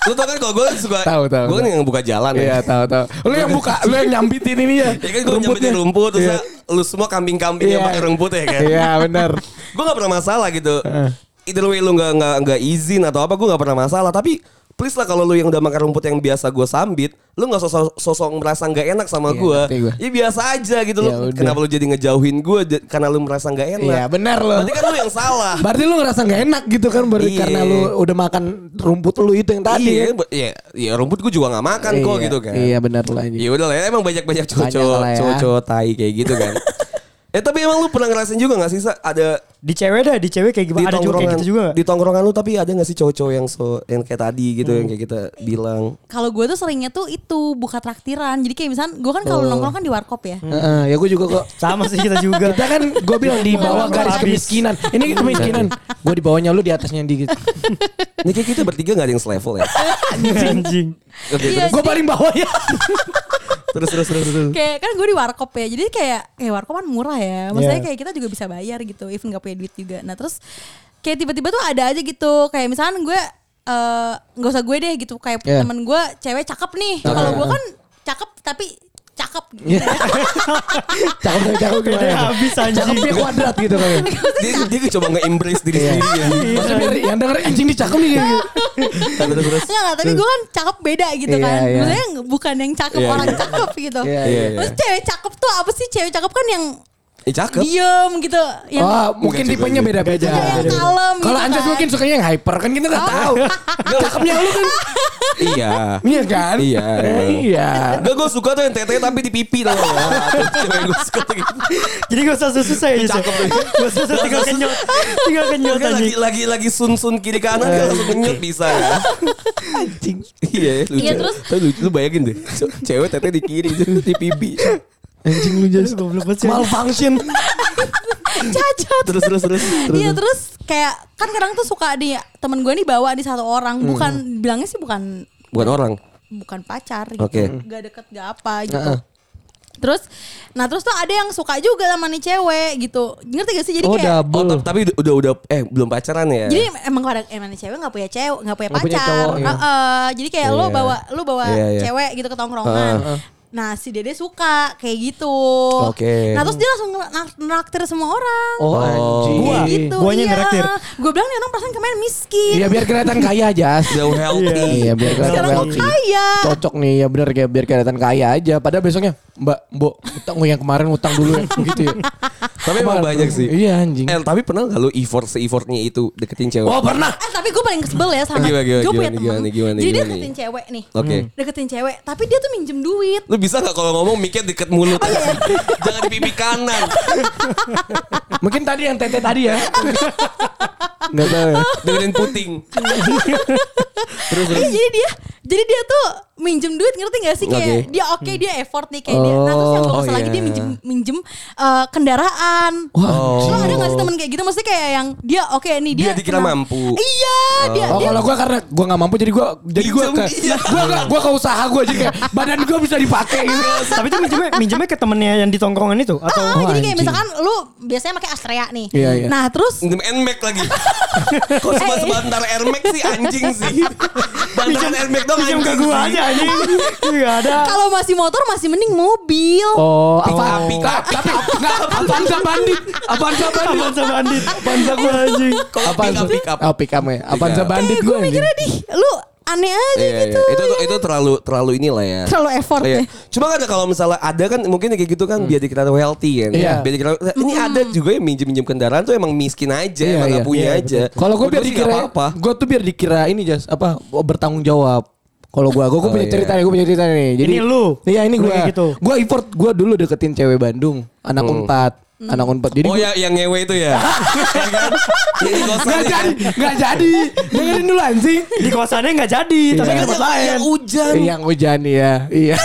Speaker 2: lu tau kan kalau gue suka
Speaker 3: Tahu, tahu,
Speaker 2: gue kan
Speaker 3: tahu.
Speaker 2: yang buka jalan
Speaker 3: Iya, tahu tahu. Lu yang buka, lu yang nyambitin ini ya.
Speaker 2: Ya kan gue nyamperin rumput terus
Speaker 3: Iya.
Speaker 2: lu semua kambing-kambing yang
Speaker 3: Iya.
Speaker 2: pakai rumput ya kan.
Speaker 3: Iya, benar.
Speaker 2: gue gak pernah masalah gitu. Either way lu gak, nggak nggak izin atau apa gue gak pernah masalah. Tapi please lah kalau lu yang udah makan rumput yang biasa gue sambit. Lu gak sosok, sosok merasa gak enak sama
Speaker 3: Iya,
Speaker 2: gue.
Speaker 3: ngerti gua.
Speaker 2: Ya biasa aja gitu.
Speaker 3: Ya
Speaker 2: lu,
Speaker 3: udah.
Speaker 2: kenapa lu jadi ngejauhin gue j- karena lu merasa gak enak.
Speaker 3: Iya, benar lo.
Speaker 2: Berarti kan lu yang salah.
Speaker 3: Berarti lu ngerasa nggak enak gitu kan baru
Speaker 2: Iya.
Speaker 3: karena lu udah makan rumput lu itu yang tadi.
Speaker 2: iya,
Speaker 3: kan?
Speaker 2: bu- iya, iya, rumput gue juga gak makan kok
Speaker 3: Iya,
Speaker 2: gitu kan.
Speaker 3: Iya, benar lah anjing.
Speaker 2: Ya udah lah, ya, emang banyak-banyak
Speaker 3: Banyak
Speaker 2: cowok-cowok
Speaker 3: lah ya.
Speaker 2: cowok-cowok tai kayak gitu kan. eh tapi emang lu pernah ngerasain juga gak sih Sa? ada
Speaker 4: Di cewek dah, di cewek kayak
Speaker 2: di
Speaker 4: gimana? Ada juga kayak
Speaker 2: tongkrongan
Speaker 4: gitu juga. nggak?
Speaker 2: di tongkrongan lu tapi ada nggak sih cowok-cowok yang so yang kayak tadi gitu yang
Speaker 3: Hmm.
Speaker 2: kayak kita bilang
Speaker 5: Kalau gue tuh seringnya tuh itu buka traktiran. Jadi kayak misalnya gue kan
Speaker 3: Oh.
Speaker 5: kalau nongkrong kan di warkop ya.
Speaker 3: Heeh, ya gue juga kok.
Speaker 4: Sama sih kita juga.
Speaker 3: Kita kan gue bilang di bawah
Speaker 5: Bukan,
Speaker 3: garis
Speaker 4: habis.
Speaker 3: kemiskinan. Ini kemiskinan. Gue di bawahnya lu di atasnya dikit.
Speaker 2: ini kayak kita bertiga nggak ada yang selevel ya
Speaker 4: anjing.
Speaker 2: Oke,
Speaker 5: Iya.
Speaker 3: gue paling bawah ya.
Speaker 2: terus terus terus terus
Speaker 5: Kayak kan gue di warkop ya. Jadi kayak eh warkop kan murah ya. Maksudnya
Speaker 4: Iya.
Speaker 5: kayak kita juga bisa bayar gitu even gak punya duit juga. Nah, terus kayak tiba-tiba tuh ada aja gitu. Kayak misalnya gue eh, nggak usah gue deh gitu. Kayak
Speaker 3: Iya.
Speaker 5: temen gue cewek cakep nih. Kalau gue kan cakep tapi cakep gitu.
Speaker 3: Iya. Cakep cakep, cakep gimana?
Speaker 4: Dia habis anjing.
Speaker 3: Cakepnya kuadrat gitu kan.
Speaker 2: dia dia coba nge-embrace
Speaker 3: Iya.
Speaker 2: diri sendiri ya
Speaker 3: Maksudnya biar yang denger anjing nih cakep nih.
Speaker 5: Iya.
Speaker 3: gitu.
Speaker 2: Nah, terus terus
Speaker 5: Enggak, enggak, tapi gue kan cakep beda gitu
Speaker 3: Iya,
Speaker 5: kan.
Speaker 3: iya.
Speaker 5: Maksudnya bukan yang cakep
Speaker 2: Iya,
Speaker 5: orang
Speaker 2: iya.
Speaker 5: cakep gitu.
Speaker 3: Iya,
Speaker 2: iya.
Speaker 5: Terus cewek cakep tuh apa sih? Cewek cakep kan yang
Speaker 2: eh, cakep
Speaker 3: Iya.
Speaker 5: diem gitu, yang
Speaker 3: Wah Ah, mungkin
Speaker 2: juga
Speaker 3: tipenya
Speaker 2: sih.
Speaker 3: beda-beda.
Speaker 5: Iya, yang kalem
Speaker 3: Kalau
Speaker 5: gitu
Speaker 3: Anjas
Speaker 5: kan. Oh.
Speaker 3: mungkin sukanya yang hyper kan kita nggak tahu. Cakepnya lu kan.
Speaker 2: iya
Speaker 3: Iya kan?
Speaker 2: Iya.
Speaker 3: Eh, Iya.
Speaker 2: Enggak gue suka tuh yang tete tapi di pipi tau gak? Cewek gue suka tuh gitu.
Speaker 4: Jadi gak usah susah ya. Jas.
Speaker 2: Cakep tuh.
Speaker 4: Gak usah susah tinggal kenyot. Tinggal
Speaker 3: Iya,
Speaker 4: kenyot
Speaker 2: Kan lagi
Speaker 4: anjing.
Speaker 2: lagi lagi sun sun kiri kanan dia langsung ngenyut bisa ya.
Speaker 3: Eh. Anjing.
Speaker 2: Iya lucu.
Speaker 5: Iya, terus-
Speaker 2: Tapi lucu lu bayangin deh. Cewek tete di kiri di pipi.
Speaker 3: Anjing lu Jas.
Speaker 4: Goblok banget sih.
Speaker 3: Malfunction.
Speaker 5: cacat.
Speaker 2: Terus terus terus. terus.
Speaker 5: Iya terus kayak kan kadang tuh suka di temen gue nih bawa di satu orang
Speaker 2: Hmm.
Speaker 5: bukan bilangnya sih bukan
Speaker 2: Bukan orang.
Speaker 5: bukan pacar gitu,
Speaker 2: Oke.
Speaker 5: gak deket gak apa gitu. Terus, nah terus tuh ada yang suka juga sama nih cewek gitu, ngerti gak sih? Jadi
Speaker 3: Oh
Speaker 5: kayak
Speaker 2: Oh,
Speaker 3: double.
Speaker 2: ta- tapi udah, udah udah eh belum pacaran ya.
Speaker 5: Jadi emang kadang emang nih cewek nggak punya cewek nggak punya
Speaker 3: Nggak punya
Speaker 5: pacar.
Speaker 3: cowok, ya.
Speaker 5: Heeh. Jadi kayak lo
Speaker 2: Iya.
Speaker 5: bawa lo bawa
Speaker 2: Iya, iya.
Speaker 5: cewek gitu ke tongkrongan. Nah si Dede suka kayak gitu.
Speaker 2: Oke.
Speaker 5: Nah terus dia langsung ngerak- neraktir semua orang.
Speaker 3: Oh anjing.
Speaker 5: Kayak
Speaker 4: Gua.
Speaker 5: gitu.
Speaker 4: Guanya yang neraktir.
Speaker 5: Gue bilang nih orang perasaan kemarin miskin.
Speaker 3: Iya biar kelihatan kaya Jas.
Speaker 2: Udah healthy.
Speaker 3: Iya biar kelihatan
Speaker 5: Sekarang
Speaker 3: healthy.
Speaker 5: kaya.
Speaker 3: Cocok nih ya bener kayak biar kelihatan kaya aja. Padahal besoknya Mbak, Mbok, utang gue yang kemarin utang dulu ya gitu ya.
Speaker 2: Tapi emang
Speaker 3: Kemarin.
Speaker 2: banyak sih.
Speaker 3: Iya anjing.
Speaker 2: Eh, tapi pernah gak lu effort se-effortnya itu deketin cewek?
Speaker 3: Oh pernah.
Speaker 5: Eh tapi gue paling kesebel ya sama
Speaker 2: Gimana, gimana,
Speaker 5: gue punya
Speaker 2: gimana,
Speaker 5: temen.
Speaker 2: gimana, gimana,
Speaker 5: Jadi dia
Speaker 2: gimana?
Speaker 5: deketin cewek nih. Hmm.
Speaker 2: Oke.
Speaker 5: Deketin cewek tapi dia tuh minjem duit.
Speaker 2: Lu bisa gak kalau ngomong mikir deket
Speaker 5: Oh,
Speaker 2: mulut?
Speaker 5: iya.
Speaker 2: Jangan di pipi kanan.
Speaker 3: Mungkin tadi yang tete tadi ya. Enggak tahu. ya.
Speaker 2: Dengerin puting. terus
Speaker 5: Eh,
Speaker 2: terus.
Speaker 5: jadi dia jadi dia tuh minjem duit ngerti gak sih kayak
Speaker 2: Oke.
Speaker 5: dia oke dia
Speaker 3: Hmm.
Speaker 5: effort nih kayak dia nah terus yang gak
Speaker 2: Oh,
Speaker 5: kesel lagi
Speaker 2: iya.
Speaker 5: dia minjem minjem eh, kendaraan
Speaker 3: Wah,
Speaker 5: lo ada gak sih temen kayak gitu maksudnya kayak yang dia oke nih dia
Speaker 2: Dia dikira
Speaker 5: kenal-
Speaker 2: mampu.
Speaker 5: iya dia
Speaker 3: Oh
Speaker 5: dia
Speaker 3: kalau gue karena gue nggak mampu jadi gue jadi gue
Speaker 2: Pinjam
Speaker 3: ke
Speaker 2: dia.
Speaker 3: gue nggak gue ke usaha gue jadi kayak badan gue bisa dipakai gitu.
Speaker 2: Nah.
Speaker 4: Tapi itu minjemnya, minjemnya ke temennya yang di tongkrongan itu
Speaker 5: Ah,
Speaker 4: atau
Speaker 5: jadi
Speaker 3: Oh, anjing.
Speaker 5: kayak misalkan lu biasanya pakai Astrea nih.
Speaker 3: Iya, iya.
Speaker 5: Nah terus
Speaker 2: Air Max lagi. Kok
Speaker 3: Eh.
Speaker 2: cuma sebentar Air Max sih anjing sih. Bantaran Air Max dong
Speaker 4: Pinjam
Speaker 2: anjing
Speaker 4: ke gua aja anjing. Enggak ada.
Speaker 5: kalau masih motor masih mending mobil.
Speaker 3: Oh, apa?
Speaker 2: api,
Speaker 3: Nggak, tapi nggak apaan sih bandit? Apaan sih bandit?
Speaker 4: Bangsa bandit. Bangsa gua anjing.
Speaker 3: Apaan sih?
Speaker 2: Pick up, pick up.
Speaker 3: Oh, pick up ya. Apaan sih
Speaker 2: Pick up.
Speaker 3: bandit gue
Speaker 5: Kayak gue
Speaker 3: ini?
Speaker 5: Eh, mikirnya di lu aneh aja
Speaker 2: Iya,
Speaker 5: gitu.
Speaker 2: iya. Itu
Speaker 3: ya.
Speaker 2: tuh- itu terlalu terlalu inilah ya.
Speaker 5: Terlalu effort
Speaker 2: Iya.
Speaker 5: ya.
Speaker 2: Cuma kan kalau misalnya ada kan mungkin kayak gitu kan biar dikira healthy kan.
Speaker 3: Hmm. Iya.
Speaker 2: Biar dikira ini ada juga yang minjem-minjem kendaraan tuh emang miskin aja,
Speaker 3: Iya,
Speaker 2: emang
Speaker 3: iya.
Speaker 2: gak punya
Speaker 3: Iya,
Speaker 2: aja.
Speaker 3: betul. Kalau gue biar
Speaker 2: Menurut sih
Speaker 3: dikira
Speaker 2: nggak apa-apa.
Speaker 3: Gue tuh biar dikira ini Jas Apa Bertanggung jawab kalau gue, gue
Speaker 2: Oh,
Speaker 3: punya
Speaker 2: iya.
Speaker 3: cerita nih, gue punya cerita nih. Jadi
Speaker 4: Ini lu?
Speaker 3: Iya, ini
Speaker 4: Lu
Speaker 3: gue.
Speaker 4: kayak gitu?
Speaker 3: Gue effort, gue dulu deketin cewek Bandung, anak unpad, anak unpad. Jadi
Speaker 2: Hmm. Oh ya
Speaker 3: gua-
Speaker 2: yang ngewe itu ya. Iya kan? Jadi
Speaker 3: nggak
Speaker 2: kosannya.
Speaker 3: jadi, nggak jadi. Dengerin dulu anjing.
Speaker 4: Di kosannya enggak jadi, tapi
Speaker 3: Iya.
Speaker 4: ke tempat lain.
Speaker 2: Yang hujan.
Speaker 3: Yang hujan ya, iya.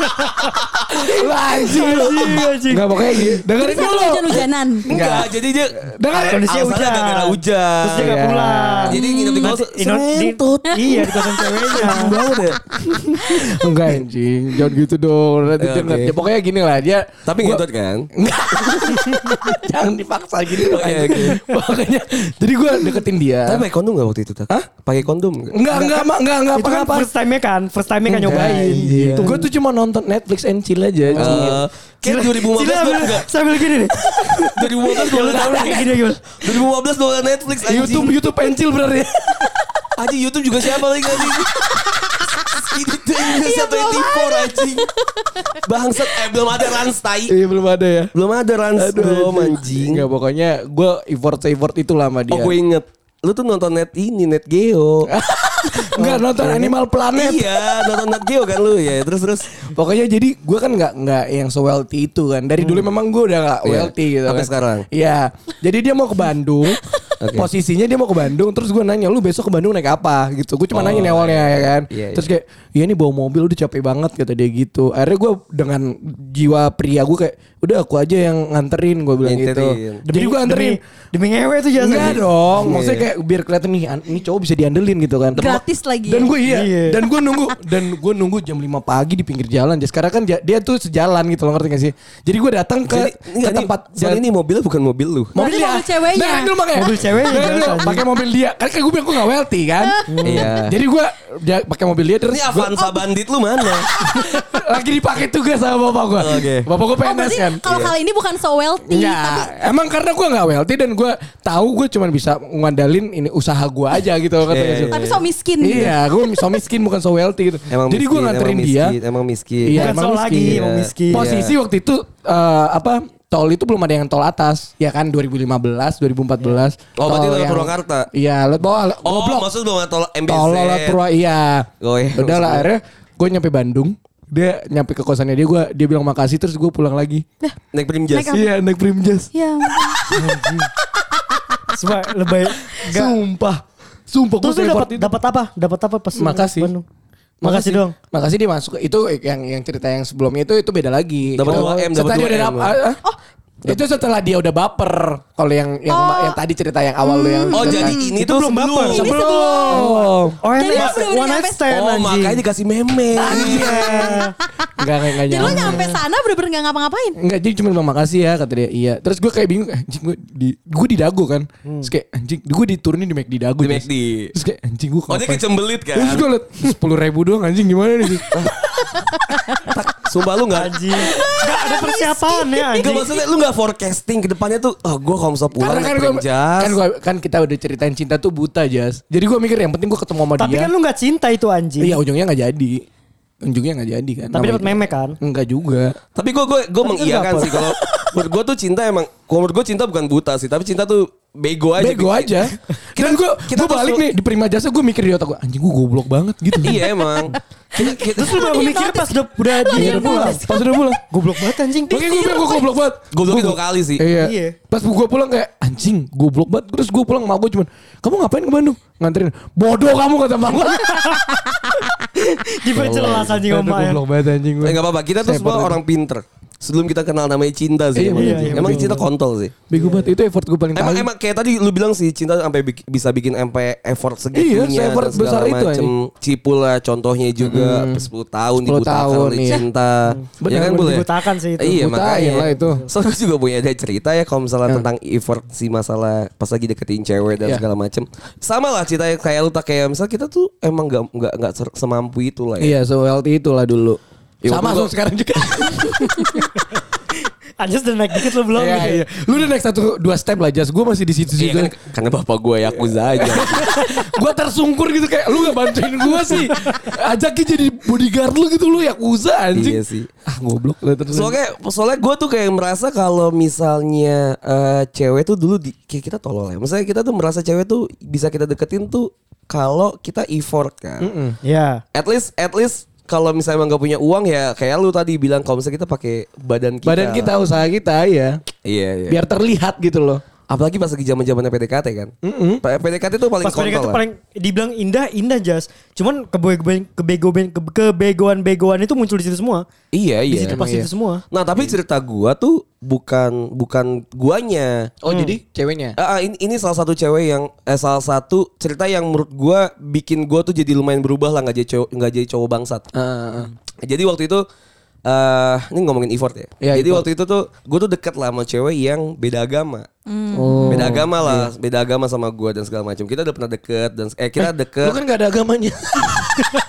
Speaker 3: lu anjing lu.
Speaker 4: Anjing, anjing.
Speaker 3: Nggak pokoknya gitu. Dengerin
Speaker 5: Terus
Speaker 3: dulu.
Speaker 5: hujan-hujanan.
Speaker 2: Enggak, jadi dia
Speaker 3: Dengar, ya,
Speaker 4: Kondisinya
Speaker 2: alasannya
Speaker 4: hujan.
Speaker 2: gara-gara hujan.
Speaker 4: Terus dia nggak
Speaker 3: Iya.
Speaker 4: pulang.
Speaker 2: Jadi nginep di kosan.
Speaker 4: Di- di- di-
Speaker 2: Sentut.
Speaker 4: Iya di kosan ceweknya.
Speaker 3: Enggak anjing, jangan gitu dong. Nanti
Speaker 2: Ya,
Speaker 3: denger.
Speaker 2: oke.
Speaker 3: Ya, pokoknya gini lah dia.
Speaker 2: Tapi
Speaker 3: gua-
Speaker 2: ngintut kan?
Speaker 3: Jangan dipaksa gini dong.
Speaker 2: Oke,
Speaker 3: anjing. Makanya jadi gue deketin dia.
Speaker 2: Tapi pakai kondom gak waktu itu? Hah? Pakai kondom Eh, gak?
Speaker 3: Enggak, enggak, enggak, enggak, enggak,
Speaker 4: Itu
Speaker 3: apa
Speaker 4: kan
Speaker 3: apa.
Speaker 4: first time-nya kan, first time-nya kan nyobain. Gitu.
Speaker 3: Gue tuh cuma nonton Netflix and chill aja. anjing.
Speaker 2: Eh, Kira 2015
Speaker 4: Sila
Speaker 2: gue
Speaker 4: sambil,
Speaker 2: enggak.
Speaker 4: sambil gini nih.
Speaker 2: 2015
Speaker 4: Ya
Speaker 2: gue
Speaker 4: lu tau lah kayak gini gimana.
Speaker 2: 2015 gue nonton Netflix anjing.
Speaker 3: YouTube, YouTube and chill bener ya.
Speaker 2: Anjing YouTube juga siapa lagi anjing? Itu tuh Indonesia 24 anjing. Bangsat eh belum ada Rans tai.
Speaker 3: Iya belum ada ya.
Speaker 2: Belum ada Rans belum anjing.
Speaker 3: Enggak, pokoknya gue effort effort itulah sama
Speaker 2: Oh
Speaker 3: dia.
Speaker 2: gue inget. Lu tuh nonton net ini, net Geo.
Speaker 3: Enggak nonton Animal Planet.
Speaker 2: iya, nonton net Geo kan lu ya. Terus terus
Speaker 3: Pokoknya jadi gue kan nggak nggak yang so wealthy itu kan. Dari dulu memang gue udah nggak
Speaker 2: Hmm. Iya,
Speaker 3: wealthy gitu.
Speaker 2: sampai
Speaker 3: kan.
Speaker 2: sekarang.
Speaker 3: Iya. Jadi dia mau ke Bandung.
Speaker 2: Oke.
Speaker 3: Posisinya dia mau ke Bandung. Terus gue nanya lu besok ke Bandung naik apa gitu. Gue cuma
Speaker 2: Oh,
Speaker 3: nanya nih awalnya ya kan.
Speaker 2: Iya, iya.
Speaker 3: terus kayak ya ini bawa mobil udah capek banget kata dia gitu. Akhirnya gue dengan jiwa pria gue kayak udah aku aja yang nganterin gue bilang gitu.
Speaker 2: Nganterin.
Speaker 3: Jadi gue anterin.
Speaker 4: Demi, demi ngewe tuh jasa.
Speaker 3: Enggak Iya dong, maksudnya kayak biar kelihatan nih, an- ini cowok bisa diandelin gitu kan.
Speaker 5: Gratis lagi
Speaker 3: Dan
Speaker 5: ya.
Speaker 3: gue iya,
Speaker 4: Iya.
Speaker 3: dan gue nunggu, dan gue nunggu jam 5 pagi di pinggir jalan. Jadi sekarang kan ja- dia tuh sejalan gitu loh ngerti gak sih? Jadi gue datang ke,
Speaker 2: jadi
Speaker 3: ke
Speaker 2: enggak, ini-
Speaker 3: tempat Iya. Nah,
Speaker 2: soalnya ini mobilnya bukan mobil lu.
Speaker 5: Berarti mobil ceweknya.
Speaker 3: Dengerin dulu makanya.
Speaker 4: Mobil ceweknya,
Speaker 3: Dengerin dulu,
Speaker 4: jelas,
Speaker 3: pakai mobil dia. Kan kayak gue bilang gue gak wealthy kan.
Speaker 2: Iya.
Speaker 3: Jadi gue dia- pakai mobil dia terus
Speaker 5: Iya.
Speaker 2: Ini
Speaker 3: gua-
Speaker 2: Avanza bandit lu mana?
Speaker 3: lagi dipakai tugas sama bapak gue.
Speaker 2: Oke.
Speaker 3: Bapak gue
Speaker 5: Oh,
Speaker 3: PNS
Speaker 5: berarti
Speaker 3: kan.
Speaker 2: Iya.
Speaker 5: kalau kali ini bukan so wealthy
Speaker 3: Iya,
Speaker 5: tapi
Speaker 3: emang karena gue nggak wealthy dan gue tahu gue cuma bisa ngandalin ini usaha gue aja gitu kata
Speaker 2: Iya,
Speaker 3: Yusuf.
Speaker 2: iya,
Speaker 5: tapi so miskin gitu.
Speaker 3: Iya, gue so miskin bukan so wealthy gitu.
Speaker 2: Emang
Speaker 3: Jadi gue
Speaker 2: miskin,
Speaker 3: nganterin
Speaker 2: emang
Speaker 3: dia.
Speaker 2: miskin, Emang miskin.
Speaker 3: Iya,
Speaker 4: Bukan
Speaker 3: emang
Speaker 4: soal
Speaker 3: miskin.
Speaker 4: lagi, emang
Speaker 2: Iya.
Speaker 4: miskin.
Speaker 3: Posisi waktu itu eh, apa? Tol itu belum ada yang tol atas, ya kan 2015, 2014.
Speaker 2: Oh, berarti
Speaker 3: Tol
Speaker 2: lewat
Speaker 3: yang-
Speaker 2: Purwakarta?
Speaker 3: Iya, lewat bawah, lewat-
Speaker 2: Oh,
Speaker 3: goblok.
Speaker 2: maksud lu tol MBZ.
Speaker 3: Tol lewat Purwa, iya.
Speaker 2: Oh, iya,
Speaker 3: Udah
Speaker 2: maksudnya.
Speaker 3: lah, akhirnya gue nyampe Bandung. Dia nyampe ke kosannya dia, gue dia bilang makasih terus gue pulang lagi.
Speaker 2: Naik Primjas.
Speaker 5: Naik apa?
Speaker 3: Iya, naik Primjas.
Speaker 5: Ya.
Speaker 4: Coba lebay. Enggak.
Speaker 3: Sumpah. Sumpah gue
Speaker 4: Terus lu dapat dapat apa? Dapat apa pas lu
Speaker 3: Makasih.
Speaker 4: Bandung? Makasih dong.
Speaker 3: Makasih dia masuk. Itu yang yang cerita yang sebelumnya itu itu beda lagi.
Speaker 2: Dapat
Speaker 3: Itu
Speaker 2: 2M, dapat
Speaker 3: setelah dia
Speaker 2: 2M.
Speaker 3: udah dap- ah, ah. itu setelah dia udah baper. Kalau yang yang
Speaker 5: Oh.
Speaker 3: yang tadi cerita yang awal lu yang
Speaker 2: Oh, jadi ini tuh belum baper.
Speaker 5: Ini sebelum.
Speaker 4: Oh,
Speaker 5: Jadi
Speaker 4: ini
Speaker 5: lu bener-bener
Speaker 4: one night
Speaker 5: nyampe-
Speaker 4: stand
Speaker 2: Oh,
Speaker 4: anjing.
Speaker 2: makanya dikasih meme. Iya.
Speaker 3: Enggak enggak enggak.
Speaker 5: Jadi lo
Speaker 3: nyampe.
Speaker 5: nyampe sana bener-bener gak ngapa-ngapain.
Speaker 3: Enggak jadi cuma bilang makasih ya kata dia. Iya. Terus gue kayak bingung anjing gue di gue di dago kan.
Speaker 4: Hmm.
Speaker 3: Terus kayak anjing gue diturunin di McD dago.
Speaker 2: Di
Speaker 3: Terus-
Speaker 2: McD.
Speaker 3: Terus kayak anjing gue
Speaker 2: Oh, dia
Speaker 3: kenapa ya?
Speaker 2: kecembelit kan.
Speaker 3: Terus gue liat 10 ribu doang anjing gimana nih
Speaker 2: Sumpah lu enggak
Speaker 4: Anjing. Enggak ada persiapannya
Speaker 2: Enggak
Speaker 4: anjing.
Speaker 2: maksudnya lu gak forecasting ke depannya tuh oh gue kalau misalnya pulang
Speaker 3: Karena kan
Speaker 2: naik
Speaker 3: gua,
Speaker 2: Primjas.
Speaker 3: kan gua- kan kita udah ceritain cinta tuh buta Jas. Jadi gue mikir yang penting gue ketemu sama
Speaker 4: Tapi
Speaker 3: dia.
Speaker 4: kan lu gak cinta itu anjing.
Speaker 3: Iya ujungnya nggak jadi. Ujungnya nggak jadi kan.
Speaker 4: Tapi
Speaker 3: Namanya
Speaker 4: dapat meme kan?
Speaker 3: Enggak juga.
Speaker 2: Tapi gue gue gue mengiyakan
Speaker 4: kenapa?
Speaker 2: sih kalau menurut gue tuh cinta emang kalau menurut gue cinta bukan buta sih tapi cinta tuh bego aja. gitu.
Speaker 3: Bego aja. Dan gue
Speaker 2: kita
Speaker 3: gue balik
Speaker 2: tuh-
Speaker 3: nih di Prima Jasa gue mikir di otak gue anjing gue goblok banget gitu.
Speaker 2: iya emang. Kita, kita,
Speaker 4: Terus lu baru mikir pas udah udah di
Speaker 3: Iya, udah pulang. Pas udah pulang.
Speaker 4: Goblok banget anjing.
Speaker 3: Makanya gue bilang gue goblok banget.
Speaker 2: Iya. Gobloknya
Speaker 3: Goblok.
Speaker 2: dua kali sih.
Speaker 3: Iya.
Speaker 4: Iya.
Speaker 3: Pas gue pulang kayak anjing goblok banget. Terus gue pulang sama gue cuman kamu ngapain ke Bandung? Nganterin. Bodoh kamu kata mak gue.
Speaker 4: Diperjelas anjing
Speaker 3: Aduh,
Speaker 4: sama ya.
Speaker 3: Goblok banget anjing gue.
Speaker 2: ya. Eh, nggak apa-apa kita tuh
Speaker 3: Saya
Speaker 2: semua
Speaker 3: baru-
Speaker 2: orang pinter. sebelum kita kenal namanya cinta sih.
Speaker 3: Iya,
Speaker 2: emang
Speaker 4: iya, iya,
Speaker 2: emang
Speaker 4: betul.
Speaker 2: cinta kontol sih.
Speaker 3: Bego banget itu effort gue paling
Speaker 2: Emang,
Speaker 3: tahu.
Speaker 2: emang kayak tadi lu bilang sih cinta sampai bik- bisa bikin sampai effort
Speaker 3: Iya,
Speaker 2: segitunya
Speaker 3: se-effort
Speaker 2: dan segala
Speaker 3: besar itu,
Speaker 2: macem. Cipul lah contohnya juga 10 tahun
Speaker 3: 10
Speaker 2: dibutakan
Speaker 3: tahun,
Speaker 2: oleh
Speaker 3: iya.
Speaker 2: cinta.
Speaker 3: Benar,
Speaker 2: ya kan boleh.
Speaker 4: dibutakan sih itu.
Speaker 2: Iya
Speaker 3: Butain
Speaker 2: makanya.
Speaker 3: lah itu.
Speaker 2: So gue juga punya ada cerita ya kalau misalnya tentang effort si masalah pas lagi deketin cewek dan
Speaker 3: Iya.
Speaker 2: segala macem. Sama lah ceritanya kayak lu tak kayak misal kita tuh emang nggak nggak nggak ser- semampu itu lah ya.
Speaker 3: Iya, so healthy itulah dulu.
Speaker 2: Iya,
Speaker 3: Sama
Speaker 2: waktu
Speaker 3: so sekarang juga.
Speaker 4: Anjas udah naik dikit lo belum?
Speaker 3: Iya, iya. Lu udah naik satu dua step lah, Jas. Gue masih di situ-situ.
Speaker 2: Iya, kan, karena bapak gue yakuza aja.
Speaker 3: gue tersungkur gitu kayak lu gak bantuin gue sih. Ajakin jadi bodyguard lu gitu lu yakuza anjing.
Speaker 2: Iya sih.
Speaker 3: Ah, goblok lu terus.
Speaker 2: Soalnya, soalnya gue tuh kayak merasa kalau misalnya eh, cewek tuh dulu di, kayak kita tolol ya. Maksudnya kita tuh merasa cewek tuh bisa kita deketin tuh kalau kita effort kan.
Speaker 4: Iya.
Speaker 2: At least, at least kalau misalnya emang gak punya uang ya kayak lu tadi bilang kalau misalnya kita pakai badan kita.
Speaker 3: Badan kita, usaha kita ya.
Speaker 2: Iya, iya.
Speaker 3: Biar terlihat gitu loh.
Speaker 2: Apalagi pas lagi zaman zamannya PDKT kan. Pa- PDKT tuh paling
Speaker 4: Pas mereka
Speaker 2: kontol
Speaker 4: tuh
Speaker 2: lah.
Speaker 4: paling
Speaker 3: ya.
Speaker 4: dibilang indah, indah jas. Cuman kebe- kebegoan kebe- kebegoan-begoan itu muncul di situ semua.
Speaker 2: Iya,
Speaker 4: Di
Speaker 2: iya.
Speaker 4: situ pas
Speaker 3: iya.
Speaker 4: itu semua.
Speaker 2: Nah, tapi cerita gua tuh bukan bukan guanya.
Speaker 3: Oh, jadi ceweknya.
Speaker 2: Ah, ah, ini, ini salah satu cewek yang eh, salah satu cerita yang menurut gua bikin gua tuh jadi lumayan berubah lah nggak jadi cowok nggak jadi cowok bangsat.
Speaker 3: Ah, Heeh.
Speaker 2: Jadi waktu itu eh ini ngomongin effort ya.
Speaker 3: Iya,
Speaker 2: jadi
Speaker 3: effort.
Speaker 2: waktu itu tuh gua tuh deket lah sama cewek yang beda agama.
Speaker 3: Oh,
Speaker 2: beda agama lah,
Speaker 3: iya.
Speaker 2: beda agama sama gua dan segala macam. Kita udah pernah deket dan eh kita
Speaker 3: Lu
Speaker 2: deket.
Speaker 3: kan gak ada agamanya.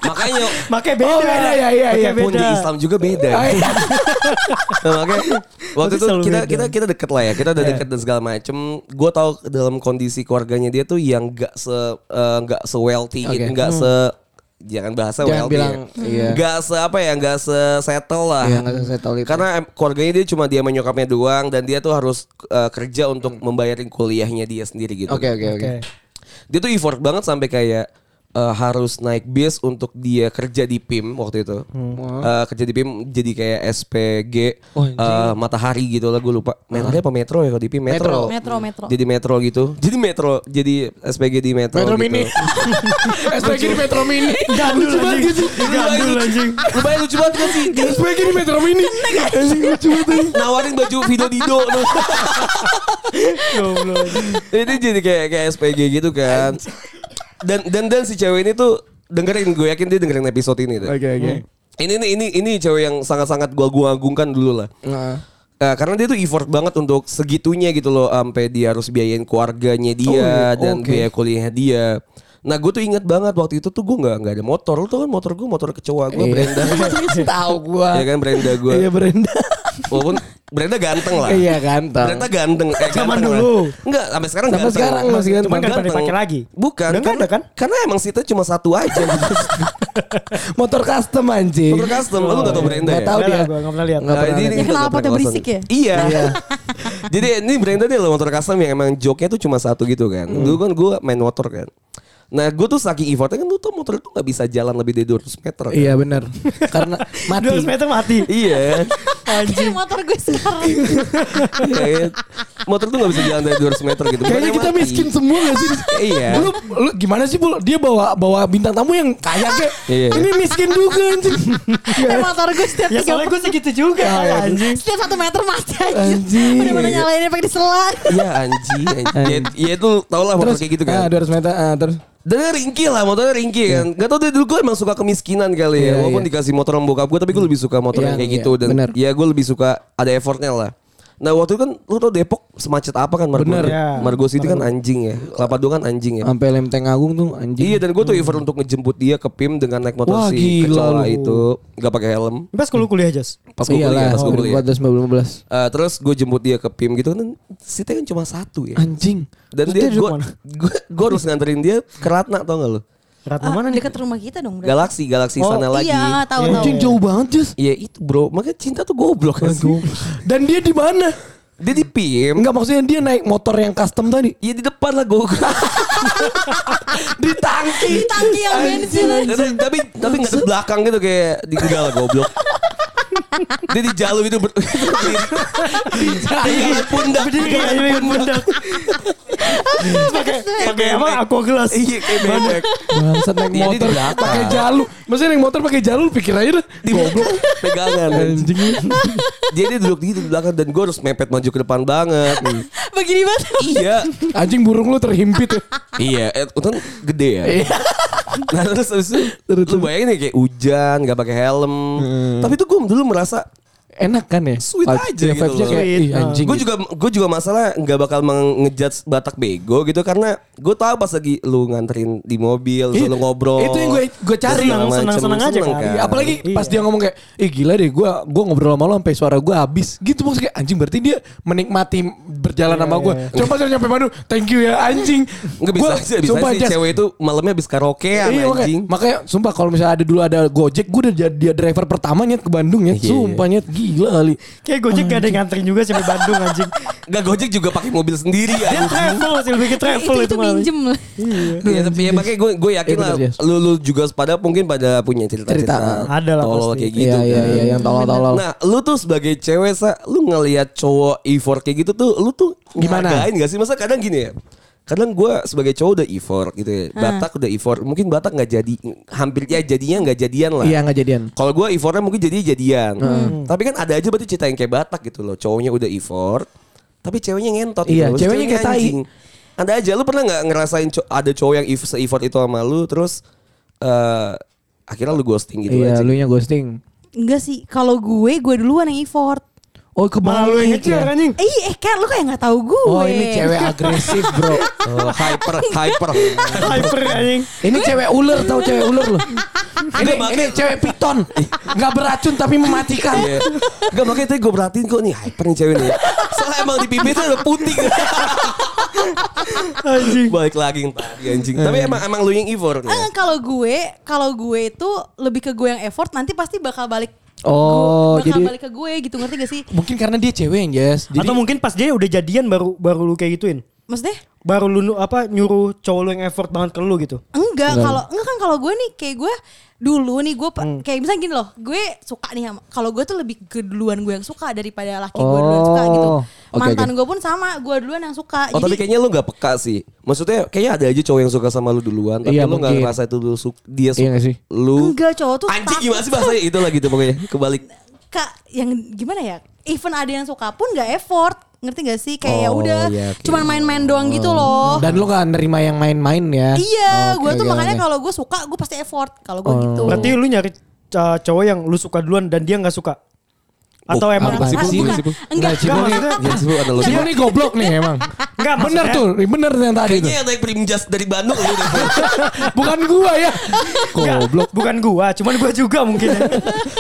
Speaker 2: Makanya
Speaker 4: Makanya beda.
Speaker 3: Oh, beda, Oh, iya, iya,
Speaker 4: Makanya
Speaker 3: iya.
Speaker 2: pun di
Speaker 4: beda.
Speaker 2: Islam juga beda. Nah, makanya waktu
Speaker 4: Tapi
Speaker 2: itu
Speaker 4: selalu
Speaker 2: kita
Speaker 4: beda.
Speaker 2: kita kita deket lah ya, kita
Speaker 3: Iya.
Speaker 2: udah deket dan segala macem. Gue tahu dalam kondisi keluarganya dia tuh yang gak se eh, nggak se wealthy,
Speaker 3: Oke. Hmm.
Speaker 2: nggak se jangan bahasa
Speaker 3: Jangan
Speaker 2: wealthy,
Speaker 3: bilang, iya.
Speaker 2: ya. nggak se apa ya, nggak se settle lah.
Speaker 3: Iya, nggak se-settle itu.
Speaker 2: Karena em- keluarganya dia cuma dia menyokapnya doang dan dia tuh harus eh, kerja untuk membayarin kuliahnya dia sendiri gitu.
Speaker 3: Hmm. Oke, oke, oke.
Speaker 4: Oke.
Speaker 2: Dia tuh effort banget sampai kayak eh, harus naik bis untuk dia kerja di PIM waktu itu. Eh, kerja di PIM jadi kayak SPG
Speaker 3: Hmm. Oh, Ah.
Speaker 2: eh, Matahari gitu lah gue lupa. Matahari apa Metro ya kalau di PIM Metro.
Speaker 3: Metro.
Speaker 5: Metro, Metro.
Speaker 2: Jadi Metro gitu. Jadi Metro jadi SPG di Metro.
Speaker 3: Metro
Speaker 2: gitu.
Speaker 3: Mini. SPG di Metro Mini.
Speaker 4: Gandul
Speaker 3: Lucu banget
Speaker 4: anjing.
Speaker 3: gitu.
Speaker 4: Gandul anjing.
Speaker 2: Lumayan lucu banget kan sih. Dia
Speaker 3: SPG di Metro Mini. Anjing, lucu banget.
Speaker 2: nawarin baju Vido Dido.
Speaker 4: Goblok.
Speaker 2: Ini jadi kayak kayak SPG gitu kan. Dan dan dan si cewek ini tuh dengerin gue yakin dia dengerin episode ini tuh.
Speaker 3: Oke, oke.
Speaker 2: Ini ini ini ini cewek yang sangat-sangat gua gua agungkan dulu lah.
Speaker 3: Nah.
Speaker 2: Eh, karena dia tuh effort banget untuk segitunya gitu loh sampai dia harus biayain keluarganya dia
Speaker 3: iya,
Speaker 2: dan
Speaker 3: oke.
Speaker 2: biaya kuliahnya dia. Nah gue tuh inget banget waktu itu tuh gue nggak nggak ada motor, lu tau kan motor gue motor kecoa gue Brenda,
Speaker 3: Iya. Tahu gua.
Speaker 2: ya kan Brenda gue,
Speaker 3: Iya Brenda.
Speaker 2: walaupun Brenda ganteng lah.
Speaker 3: Iya ganteng.
Speaker 2: Brenda ganteng. Eh, ganteng lah.
Speaker 4: Zaman dulu.
Speaker 2: Enggak, sampai sekarang
Speaker 3: Sampai
Speaker 2: ganteng.
Speaker 3: sekarang masih ganteng.
Speaker 4: Cuman nggak pernah dipakai lagi.
Speaker 2: Bukan.
Speaker 4: kan Udah nggak
Speaker 2: karena-
Speaker 4: ada kan?
Speaker 2: Karena emang sita cuma satu aja.
Speaker 3: Motor custom anjing.
Speaker 2: Motor custom, lu nggak tau Brenda
Speaker 3: Gak
Speaker 2: ya?
Speaker 3: tahu
Speaker 4: Nggak
Speaker 3: dia.
Speaker 4: lah, gua nggak pernah lihat.
Speaker 3: Nggak
Speaker 2: Nah,
Speaker 3: pernah
Speaker 2: ini-
Speaker 3: lihat.
Speaker 2: ini
Speaker 5: Jadi kenapa
Speaker 2: motor
Speaker 5: tuh
Speaker 2: custom.
Speaker 5: berisik ya?
Speaker 2: Iya. Jadi ini brandnya dia loh motor custom yang emang joknya tuh cuma satu gitu kan.
Speaker 3: Hmm.
Speaker 2: Dulu kan gue main motor kan. Nah gue tuh saking effortnya kan lu tau motor itu gak bisa jalan lebih dari 200 meter kan.
Speaker 3: Iya benar. Karena mati.
Speaker 4: 200 meter mati.
Speaker 2: Iya.
Speaker 5: Kayak motor gue sekarang.
Speaker 2: Kayak Iya kan? motor tuh gak bisa jalan dari 200 meter gitu.
Speaker 3: Kayaknya
Speaker 2: Bukannya
Speaker 3: kita
Speaker 2: mati.
Speaker 3: miskin semua gak sih?
Speaker 2: Iya.
Speaker 3: Lu, lu gimana sih Bul? Dia bawa bawa bintang tamu yang kaya kayak.
Speaker 2: Iya.
Speaker 3: Ini miskin juga anjing.
Speaker 5: Eh, motor gue setiap
Speaker 4: Ya
Speaker 5: tiga
Speaker 4: soalnya gue segitu juga
Speaker 5: iya.
Speaker 4: anjing.
Speaker 5: Setiap satu meter mati aja.
Speaker 3: Anjing.
Speaker 5: Bener-bener nyalainnya pakai diselan.
Speaker 2: Iya anjing. anjing. Ya, ya itu tau lah motor kayak gitu kan.
Speaker 3: Ah, 200 meter. Ah, terus.
Speaker 2: Dan ringkih lah motornya ringkih kan. Gak tau deh dulu gue emang suka kemiskinan kali ya.
Speaker 3: Iya,
Speaker 2: Walaupun
Speaker 3: iya.
Speaker 2: dikasih motor sama bokap gue tapi gue lebih suka motor yang
Speaker 3: Iya,
Speaker 2: kayak
Speaker 3: iya,
Speaker 2: gitu. Dan
Speaker 3: bener.
Speaker 2: ya gue lebih suka ada effortnya lah. Nah waktu itu kan lu tau Depok semacet apa kan Margo.
Speaker 3: Bener.
Speaker 4: Iya.
Speaker 2: Margo City kan anjing ya. Kelapa Dua kan anjing ya.
Speaker 3: Sampai Lenteng Agung tuh anjing.
Speaker 2: Iya dan gue tuh effort untuk ngejemput dia ke PIM dengan naik motor
Speaker 3: Wah,
Speaker 2: si
Speaker 3: gila
Speaker 2: kecoa
Speaker 3: lu.
Speaker 2: itu. Gak pakai helm.
Speaker 4: Pas kalau kuliah jas.
Speaker 2: Pas gue kuliah, pas ya. gue kuliah.
Speaker 3: 14 15.
Speaker 2: Eh, terus gue jemput dia ke PIM gitu kan Sita kan cuma satu ya
Speaker 3: Anjing.
Speaker 2: Dan
Speaker 4: Terus
Speaker 2: dia
Speaker 4: dia duduk
Speaker 2: gue
Speaker 4: mana?
Speaker 2: gue harus nganterin dia ke Ratna tau gak lu
Speaker 4: Ratna
Speaker 5: Ah,
Speaker 4: mana nih?
Speaker 5: dekat rumah kita dong. berarti.
Speaker 2: Galaksi, galaksi
Speaker 4: Oh,
Speaker 2: sana lagi
Speaker 5: Iya, tahu tahu.
Speaker 3: Anjing jauh banget, Jus.
Speaker 2: Iya itu bro, makanya cinta tuh goblok kan
Speaker 3: Dan dia di mana?
Speaker 2: Dia di PIM,
Speaker 3: Enggak maksudnya dia naik motor yang custom tadi.
Speaker 2: ya di depan lah gue.
Speaker 3: Di tangki.
Speaker 5: Di tangki yang bensin.
Speaker 2: tapi tapi tapi nggak di belakang gitu kayak di enggak lah goblok. Dia di jalur itu ber- di jalan pundak,
Speaker 4: Berdiri
Speaker 2: di
Speaker 4: kayak
Speaker 2: jalan
Speaker 4: anjing
Speaker 2: pundak.
Speaker 4: pundak. pakai pakai apa aku gelas
Speaker 2: Iya kayak bebek.
Speaker 3: Bangsat
Speaker 2: Iya,
Speaker 3: naik
Speaker 2: dia
Speaker 3: motor
Speaker 2: di belakang.
Speaker 3: pakai jalur. Maksudnya naik motor pakai jalur pikir aja dah.
Speaker 2: Di belakang pegangan.
Speaker 3: Anjing.
Speaker 2: Dia dia duduk di di belakang dan gue harus mepet maju ke depan banget.
Speaker 5: Begini banget.
Speaker 2: iya.
Speaker 3: Anjing burung lu terhimpit. ya.
Speaker 2: Iya, eh, untung gede ya.
Speaker 3: Iya.
Speaker 2: nah terus habis itu lu bayangin ya kayak hujan, gak pakai helm.
Speaker 3: Hmm.
Speaker 2: Tapi itu gue dulu merasa
Speaker 3: Enak kan ya?
Speaker 2: Sweet
Speaker 3: Vibe-
Speaker 2: aja
Speaker 3: ya,
Speaker 2: gitu
Speaker 3: vibe-nya
Speaker 2: loh.
Speaker 3: kayak,
Speaker 4: Sweet.
Speaker 3: ih, anjing. Iya.
Speaker 2: gue juga gue juga masalah nggak bakal ngejudge Batak bego gitu karena gue tahu pas lagi lu nganterin di mobil, terus
Speaker 3: Iya,
Speaker 2: lu ngobrol.
Speaker 3: itu yang gue- gue cari.
Speaker 2: Segala macem,
Speaker 4: Senang-senang aja
Speaker 2: seneng
Speaker 4: kan.
Speaker 3: Iya, apalagi
Speaker 4: Iya.
Speaker 3: pas dia ngomong kayak, "Ih gila deh, gua gua ngobrol sama lo sampai suara gua habis." Gitu maksudnya kayak, anjing berarti dia menikmati berjalan sama gua. Coba saya nyampe Bandung, "Thank you ya anjing."
Speaker 2: Iya, Nggak bisa sih, bisa
Speaker 3: sumpah,
Speaker 2: sih
Speaker 3: Jas.
Speaker 2: cewek itu malamnya habis karaokean
Speaker 3: Iya, makanya,
Speaker 2: anjing.
Speaker 3: makanya sumpah kalau misalnya ada dulu ada Gojek, gua udah jadi dia driver pertama nyet ke Bandung nyet.
Speaker 2: Iya, iya.
Speaker 3: sumpah nyet gila kali.
Speaker 4: kayak gojek gak ada yang nganterin juga sampai Bandung anjing
Speaker 2: Gak gojek juga pakai mobil sendiri ya.
Speaker 3: Iya.
Speaker 4: dia travel sih lebih ke travel
Speaker 5: itu,
Speaker 4: itu
Speaker 5: itu
Speaker 4: mah.
Speaker 5: minjem lah.
Speaker 2: Iya, tapi ya makanya gue gue yakin
Speaker 3: Iya, bener,
Speaker 2: lah
Speaker 3: Jas.
Speaker 2: lu, lu juga pada mungkin pada punya cerita-cerita
Speaker 4: Cerita. Ada lah
Speaker 2: tolol
Speaker 4: pasti.
Speaker 2: kayak gitu.
Speaker 3: iya, iya,
Speaker 2: kan.
Speaker 3: iya, yang tolol-tolol.
Speaker 2: Nah, lu tuh sebagai cewek sa, lu ngelihat cowok effort kayak gitu tuh, lu tuh
Speaker 3: Gimana?
Speaker 2: ngargain gak sih? Masa kadang gini ya, kadang gue sebagai cowok udah effort gitu
Speaker 3: Hmm.
Speaker 2: ya, Batak udah effort, mungkin Batak nggak jadi, hampir ya jadinya nggak jadian lah.
Speaker 3: Iya Hmm. nggak jadian.
Speaker 2: Kalau gue effortnya mungkin jadi jadian, tapi kan ada aja berarti cerita yang kayak Batak gitu loh, cowoknya udah effort, tapi ceweknya ngentot. gitu
Speaker 3: Iya,
Speaker 2: loh.
Speaker 3: ceweknya kayak tai.
Speaker 2: anjing. Ada aja, lu pernah nggak ngerasain co- ada cowok yang E if- se-effort itu sama lu, terus eh, akhirnya lu ghosting gitu
Speaker 3: iya,
Speaker 2: aja.
Speaker 3: lu nya ghosting.
Speaker 5: Enggak sih, kalau gue gue duluan yang effort.
Speaker 3: Oh kebalik
Speaker 4: malah lu yang
Speaker 3: ya.
Speaker 4: ngejar anjing
Speaker 5: Eh, eh kan lu kayak nggak tahu gue.
Speaker 3: Oh ini cewek agresif bro.
Speaker 2: Oh, hyper, hyper.
Speaker 4: hyper anjing
Speaker 3: Ini cewek ular tahu cewek ular loh. Ini,
Speaker 2: makanya-
Speaker 3: ini cewek piton. Nggak beracun tapi mematikan.
Speaker 2: Iya. Enggak makanya tadi gue perhatiin kok nih hyper nih cewek nih. Soalnya emang di bibirnya udah putih.
Speaker 4: anjing
Speaker 2: Balik lagi yang tadi anjing. Tapi
Speaker 3: Iya.
Speaker 2: emang emang lu yang Ivor.
Speaker 5: Eh, kalau gue, kalau gue itu lebih ke gue yang effort nanti pasti bakal balik
Speaker 3: Oh,
Speaker 5: bakal
Speaker 3: jadi-
Speaker 5: balik ke gue gitu ngerti gak sih?
Speaker 3: Mungkin karena dia cewek Jess. Jadi
Speaker 4: atau mungkin pas dia udah jadian baru baru lu kayak gituin
Speaker 5: Maksudnya?
Speaker 4: baru lu nu- apa nyuruh cowok lu yang effort banget ke lu gitu
Speaker 5: Enggak, kalau enggak kan kalau gue nih kayak gue dulu nih gue pe- kayak misalnya gini loh, gue suka nih sama kalau gue tuh lebih ke duluan gue yang suka daripada laki gue duluan suka gitu.
Speaker 3: Oh, oke,
Speaker 5: Mantan
Speaker 3: oke.
Speaker 5: gue pun sama, gue duluan yang suka.
Speaker 2: Oh tapi kayaknya lu gak peka sih. Maksudnya kayaknya ada aja cowok yang suka sama lu duluan. Tapi
Speaker 3: Iya,
Speaker 2: lu gak
Speaker 3: mungkin.
Speaker 2: ngerasa itu lu su- dia suka.
Speaker 3: Iya nggak sih?
Speaker 2: Lu.
Speaker 5: enggak cowok tuh
Speaker 2: Anjing
Speaker 5: takut.
Speaker 2: gimana sih bahasanya itu lagi tuh pokoknya. Kebalik.
Speaker 5: Kak, yang gimana ya? Even ada yang suka pun gak effort, ngerti gak sih? Kayak ya
Speaker 2: Oh,
Speaker 5: udah,
Speaker 2: iya, oke.
Speaker 5: cuman main-main doang gitu loh.
Speaker 3: Oh. dan lu nggak nerima yang main-main ya?
Speaker 5: Iya,
Speaker 3: Oke,
Speaker 5: gue tuh
Speaker 3: oke, oke.
Speaker 5: makanya
Speaker 3: Oh.
Speaker 5: kalau gue suka, gue pasti effort. Kalau gue gitu.
Speaker 4: berarti lu nyari uh, cowok yang lu suka duluan dan dia nggak suka atau
Speaker 2: Oh,
Speaker 4: emang
Speaker 2: apa sih, Bu?
Speaker 3: Iya,
Speaker 5: bukan.
Speaker 2: Gimana sih, Bu?
Speaker 5: Enggak,
Speaker 3: Enggak, Cibo
Speaker 5: enggak,
Speaker 3: nih.
Speaker 4: maksudnya-
Speaker 2: Ya sih lu analogi.
Speaker 3: Cibo nih goblok nih emang.
Speaker 4: Enggak,
Speaker 3: bener
Speaker 4: maksudnya-
Speaker 3: tuh, bener yang tadi
Speaker 2: Kayaknya
Speaker 3: tuh.
Speaker 2: yang naik prim jas dari Bandung gitu. lu deh.
Speaker 3: Bukan gua ya. Goblok.
Speaker 4: bukan gua cuman gua juga mungkin ya.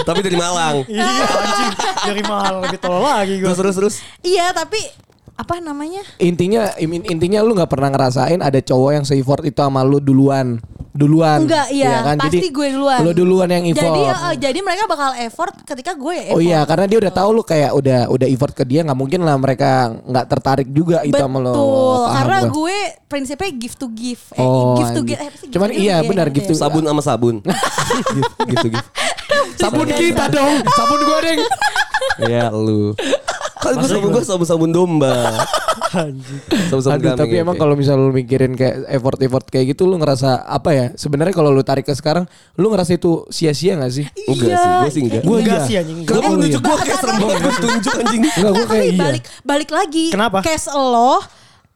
Speaker 2: Tapi dari Malang.
Speaker 4: iya anjing dari mahal lebih tolol lagi gua
Speaker 2: Terus terus terus.
Speaker 5: Iya, tapi apa namanya?
Speaker 3: Intinya in- intinya lu nggak pernah ngerasain ada cowok yang se-effort itu sama lu duluan. Duluan. kan?
Speaker 5: Enggak, iya. Pasti gue duluan.
Speaker 3: Lu duluan yang effort.
Speaker 5: Jadi eh, jadi mereka bakal effort ketika gue ya effort.
Speaker 3: Oh iya, karena dia udah tahu lu kayak udah udah effort ke dia nggak mungkin lah mereka nggak tertarik juga itu sama lo.
Speaker 5: Betul, karena gue prinsipnya give to give. Eh,
Speaker 3: Oh,
Speaker 5: give to
Speaker 3: anjing.
Speaker 5: give. Eh, apa sih give
Speaker 3: Cuman
Speaker 5: to give
Speaker 3: iya,
Speaker 5: ya,
Speaker 3: benar,
Speaker 5: gitu
Speaker 3: give
Speaker 5: ya.
Speaker 3: to-
Speaker 2: Sabun sama sabun. gitu gitu.
Speaker 3: sabun
Speaker 2: Iya,
Speaker 3: kita dong, sabun goreng.
Speaker 2: Ya lu. Kan gue sabun gue sabun sabun domba.
Speaker 4: anjing
Speaker 2: Sabun sabun
Speaker 3: Aduh, tapi emang kalau misal lu mikirin kayak effort-effort kayak gitu lu ngerasa apa ya? Sebenarnya kalau lu tarik ke sekarang, lu ngerasa itu sia-sia gak sih?
Speaker 2: Enggak sih, gue sih enggak.
Speaker 4: Gua
Speaker 3: Iya.
Speaker 4: enggak sih anjing
Speaker 2: Kenapa
Speaker 5: Eh,
Speaker 2: lu nunjuk gue
Speaker 5: bahasa
Speaker 2: kayak serem
Speaker 5: tadi.
Speaker 2: banget Gua tunjuk anjing.
Speaker 3: Enggak, gue
Speaker 5: Tapi
Speaker 3: kayak iya.
Speaker 5: balik balik lagi.
Speaker 4: Kenapa?
Speaker 5: Case lo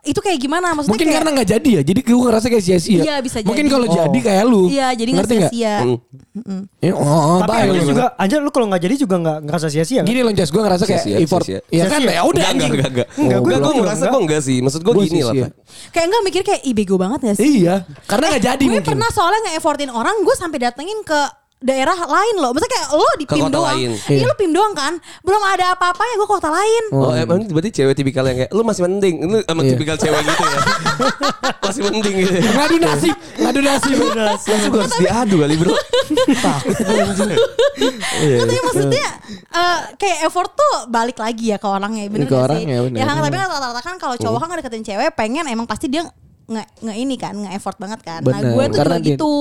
Speaker 5: itu kayak gimana maksudnya
Speaker 3: Mungkin
Speaker 5: kayak,
Speaker 3: karena nggak jadi ya, jadi gue ngerasa kayak sia-sia.
Speaker 5: Iya, bisa
Speaker 3: Mungkin
Speaker 5: jadi.
Speaker 3: kalau
Speaker 5: Oh.
Speaker 3: jadi kayak lu.
Speaker 5: Iya, jadi nggak
Speaker 3: nggak?
Speaker 5: sia-sia.
Speaker 2: Hmm.
Speaker 3: Iya, oh,
Speaker 4: tapi
Speaker 3: baik.
Speaker 4: lu juga anjir lu kalau nggak jadi juga nggak ngerasa sia-sia kan?
Speaker 3: Gini loh, Jas, gue ngerasa kayak
Speaker 2: Sia-sia,
Speaker 3: effort.
Speaker 2: sia-sia.
Speaker 3: Ya kan, ya udah
Speaker 4: Sia-sia.
Speaker 2: Enggak, enggak,
Speaker 3: anjing.
Speaker 2: enggak, enggak.
Speaker 4: Enggak,
Speaker 2: gue
Speaker 4: gua
Speaker 2: gue
Speaker 4: bilang
Speaker 2: ngerasa
Speaker 4: enggak.
Speaker 2: gue enggak sih. Maksud gue
Speaker 3: Gua
Speaker 2: gini lah.
Speaker 3: sia-sia.
Speaker 2: Pak.
Speaker 5: kayak nggak mikir kayak ih bego banget gak sih?
Speaker 3: Iya, karena nggak jadi
Speaker 5: gue
Speaker 3: mungkin.
Speaker 5: pernah soalnya nge-effortin orang gue sampai datengin ke daerah lain loh Maksudnya kayak lo di
Speaker 2: Ke
Speaker 5: PIM
Speaker 2: kota
Speaker 5: doang
Speaker 2: lain.
Speaker 5: Iya
Speaker 3: Iya.
Speaker 5: lo PIM doang kan Belum ada apa-apanya gue ke kota lain
Speaker 2: Oh, emang berarti cewek tipikal yang kayak lu masih mending. Lu emang
Speaker 3: Iya.
Speaker 2: tipikal cewek gitu ya. masih mending gitu. ya.
Speaker 3: Ngadu nasib, ngadu nasib.
Speaker 2: Langsung gua harus diadu kali, Bro.
Speaker 3: iya,
Speaker 5: Tapi maksudnya eh, Kayak effort tuh balik lagi ya ke orangnya Bener
Speaker 3: Hmm. Iya, Ke
Speaker 5: gak
Speaker 3: orangnya,
Speaker 5: sih?
Speaker 3: bener. Hmm.
Speaker 5: Ya kan tapi kan rata-rata kan kalau cowok kan ngedeketin cewek Pengen emang pasti dia nge, nge ini kan Nge-effort banget kan Nah
Speaker 3: Bener,
Speaker 5: gue tuh
Speaker 3: karena
Speaker 5: juga
Speaker 3: dia-
Speaker 5: gitu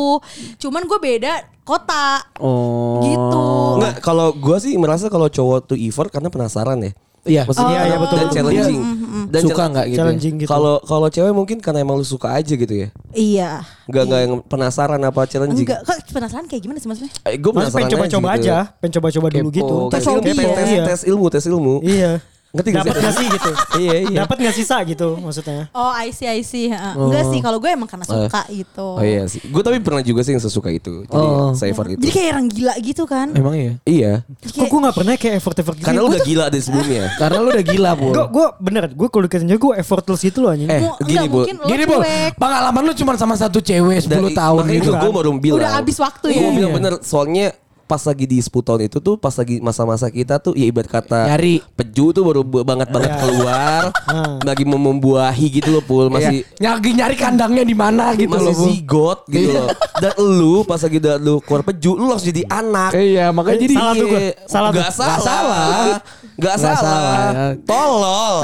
Speaker 5: Cuman gue beda kota
Speaker 3: Oh.
Speaker 5: Gitu
Speaker 2: Oh. Enggak, kalau gue sih merasa kalau cowok tuh effort karena penasaran ya.
Speaker 3: Iya.
Speaker 2: Maksudnya
Speaker 4: Iya, iya,
Speaker 2: anak-
Speaker 4: betul,
Speaker 2: dan
Speaker 4: betul.
Speaker 2: challenging. Dan
Speaker 3: suka
Speaker 2: challenging.
Speaker 3: nggak gitu? ya?
Speaker 4: Challenging gitu.
Speaker 2: Kalau kalau cewek mungkin karena emang lu suka aja gitu ya.
Speaker 5: Iya.
Speaker 2: Enggak enggak yang penasaran apa challenging.
Speaker 5: Enggak, kok penasaran kayak gimana sih maksudnya?
Speaker 2: Eh, gue
Speaker 4: Mas pengen coba-coba aja, pengen coba-coba dulu gitu.
Speaker 2: Tes
Speaker 5: Kayak
Speaker 2: ilmu,
Speaker 5: fobia.
Speaker 2: tes,
Speaker 4: Iya.
Speaker 2: tes ilmu, tes ilmu.
Speaker 4: Iya.
Speaker 2: Ngerti nggak sih?
Speaker 4: Dapat nggak sih gitu?
Speaker 2: Iya, iya.
Speaker 4: Dapat nggak sisa gitu maksudnya?
Speaker 5: Oh, I see, I see. Ha, Enggak sih, kalau gue emang karena suka gitu.
Speaker 2: Oh iya sih. Gue tapi pernah juga sih yang sesuka itu. Jadi
Speaker 3: Oh.
Speaker 2: Saver itu.
Speaker 5: Jadi kayak orang gila gitu kan.
Speaker 3: Emang iya.
Speaker 2: Iya.
Speaker 4: Kok gue nggak pernah kayak effort-effort gitu?
Speaker 2: Karena lu
Speaker 4: Gue
Speaker 2: udah gila dari sebelumnya.
Speaker 3: Karena lu udah gila, Bu.
Speaker 4: Gue gue bener, gue kalau deketin cewek gue effortless gitu loh anjing.
Speaker 2: Eh,
Speaker 5: Mu- enggak,
Speaker 2: gini, Bu.
Speaker 5: mungkin lo
Speaker 3: Gini, Bol.
Speaker 5: cuek.
Speaker 3: Pengalaman lu cuma sama satu cewek 10 tahun
Speaker 2: makanya
Speaker 3: gitu.
Speaker 2: itu gue baru bilang.
Speaker 5: Udah habis waktu ya?
Speaker 2: Gue bilang
Speaker 3: Iya.
Speaker 2: bener. Soalnya pas lagi di 10 tahun itu tuh pas lagi masa-masa kita tuh ya ibarat kata
Speaker 3: Nyari.
Speaker 2: peju tuh baru banget banget keluar lagi mem- membuahi gitu loh pul masih
Speaker 3: Iya. Nyari nyari kandangnya di mana gitu
Speaker 2: masih
Speaker 3: loh, Bu. Iya.
Speaker 2: zigot gitu loh dan lu pas lagi udah lu keluar peju lu harus jadi anak
Speaker 3: Iya, makanya jadi
Speaker 4: Salah tuh gue. Salah
Speaker 2: Gak
Speaker 4: tuh.
Speaker 2: salah.
Speaker 3: Nggak salah.
Speaker 2: Gak
Speaker 3: Nggak
Speaker 2: salah.
Speaker 3: salah ya.
Speaker 2: Tolol.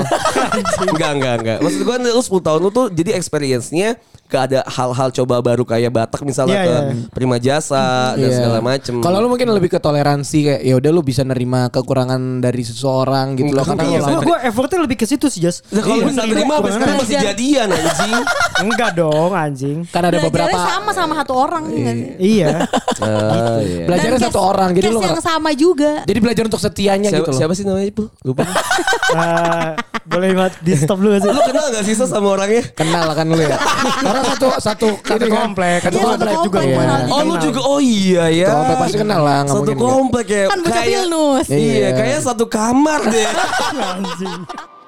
Speaker 2: Enggak, enggak, enggak. Maksud gue lu 10 tahun lu tuh jadi experience-nya gak ada hal-hal coba baru kayak Batak misalnya
Speaker 4: Iya,
Speaker 2: ke
Speaker 4: iya.
Speaker 2: Prima Jasa dan
Speaker 3: Iya.
Speaker 2: segala macem.
Speaker 3: Kalau lu mungkin lebih ke toleransi kayak ya udah lu bisa nerima kekurangan dari seseorang gitu loh
Speaker 2: Enggak,
Speaker 3: karena
Speaker 2: enggak,
Speaker 3: lu
Speaker 2: iya,
Speaker 3: lama-
Speaker 4: Gue effortnya lebih ke situ sih Jas.
Speaker 2: Nah, kalau
Speaker 4: Iya. kan-
Speaker 2: bisa terima sampai sekarang masih
Speaker 3: Iya.
Speaker 2: jadian anjing.
Speaker 4: Enggak dong anjing.
Speaker 2: iya.
Speaker 3: kan ada
Speaker 5: Belajarnya
Speaker 3: beberapa
Speaker 5: sama sama satu orang kan.
Speaker 4: Iya.
Speaker 2: Oh, iya.
Speaker 5: Dan
Speaker 3: belajarnya
Speaker 5: case-
Speaker 3: satu orang jadi
Speaker 5: case
Speaker 3: lu
Speaker 5: yang
Speaker 3: nggak-
Speaker 5: sama juga.
Speaker 3: jadi belajar untuk setianya
Speaker 2: Siapa,
Speaker 3: gitu loh.
Speaker 2: siapa sih namanya Pul? Lupa.
Speaker 4: Eh, boleh mat di stop dulu gak sih?
Speaker 2: lu kenal gak sih Sos, sama orangnya?
Speaker 3: Kenal kan lu ya. karena satu satu
Speaker 4: Satu
Speaker 3: ini kan,
Speaker 4: komplek,
Speaker 3: satu
Speaker 5: Iya, satu
Speaker 3: komplek juga
Speaker 5: komplek,
Speaker 3: ya.
Speaker 5: kenal.
Speaker 2: Oh lu juga oh iya ya.
Speaker 3: Satu komplek pasti kenal lah, nggak
Speaker 2: Satu
Speaker 3: mungkin nggak.
Speaker 2: komplek ya.
Speaker 5: Kan bocah
Speaker 2: Kayak-
Speaker 5: Vilnus.
Speaker 2: Iya,
Speaker 3: Iya.
Speaker 2: kayak satu kamar deh.
Speaker 4: Anjing.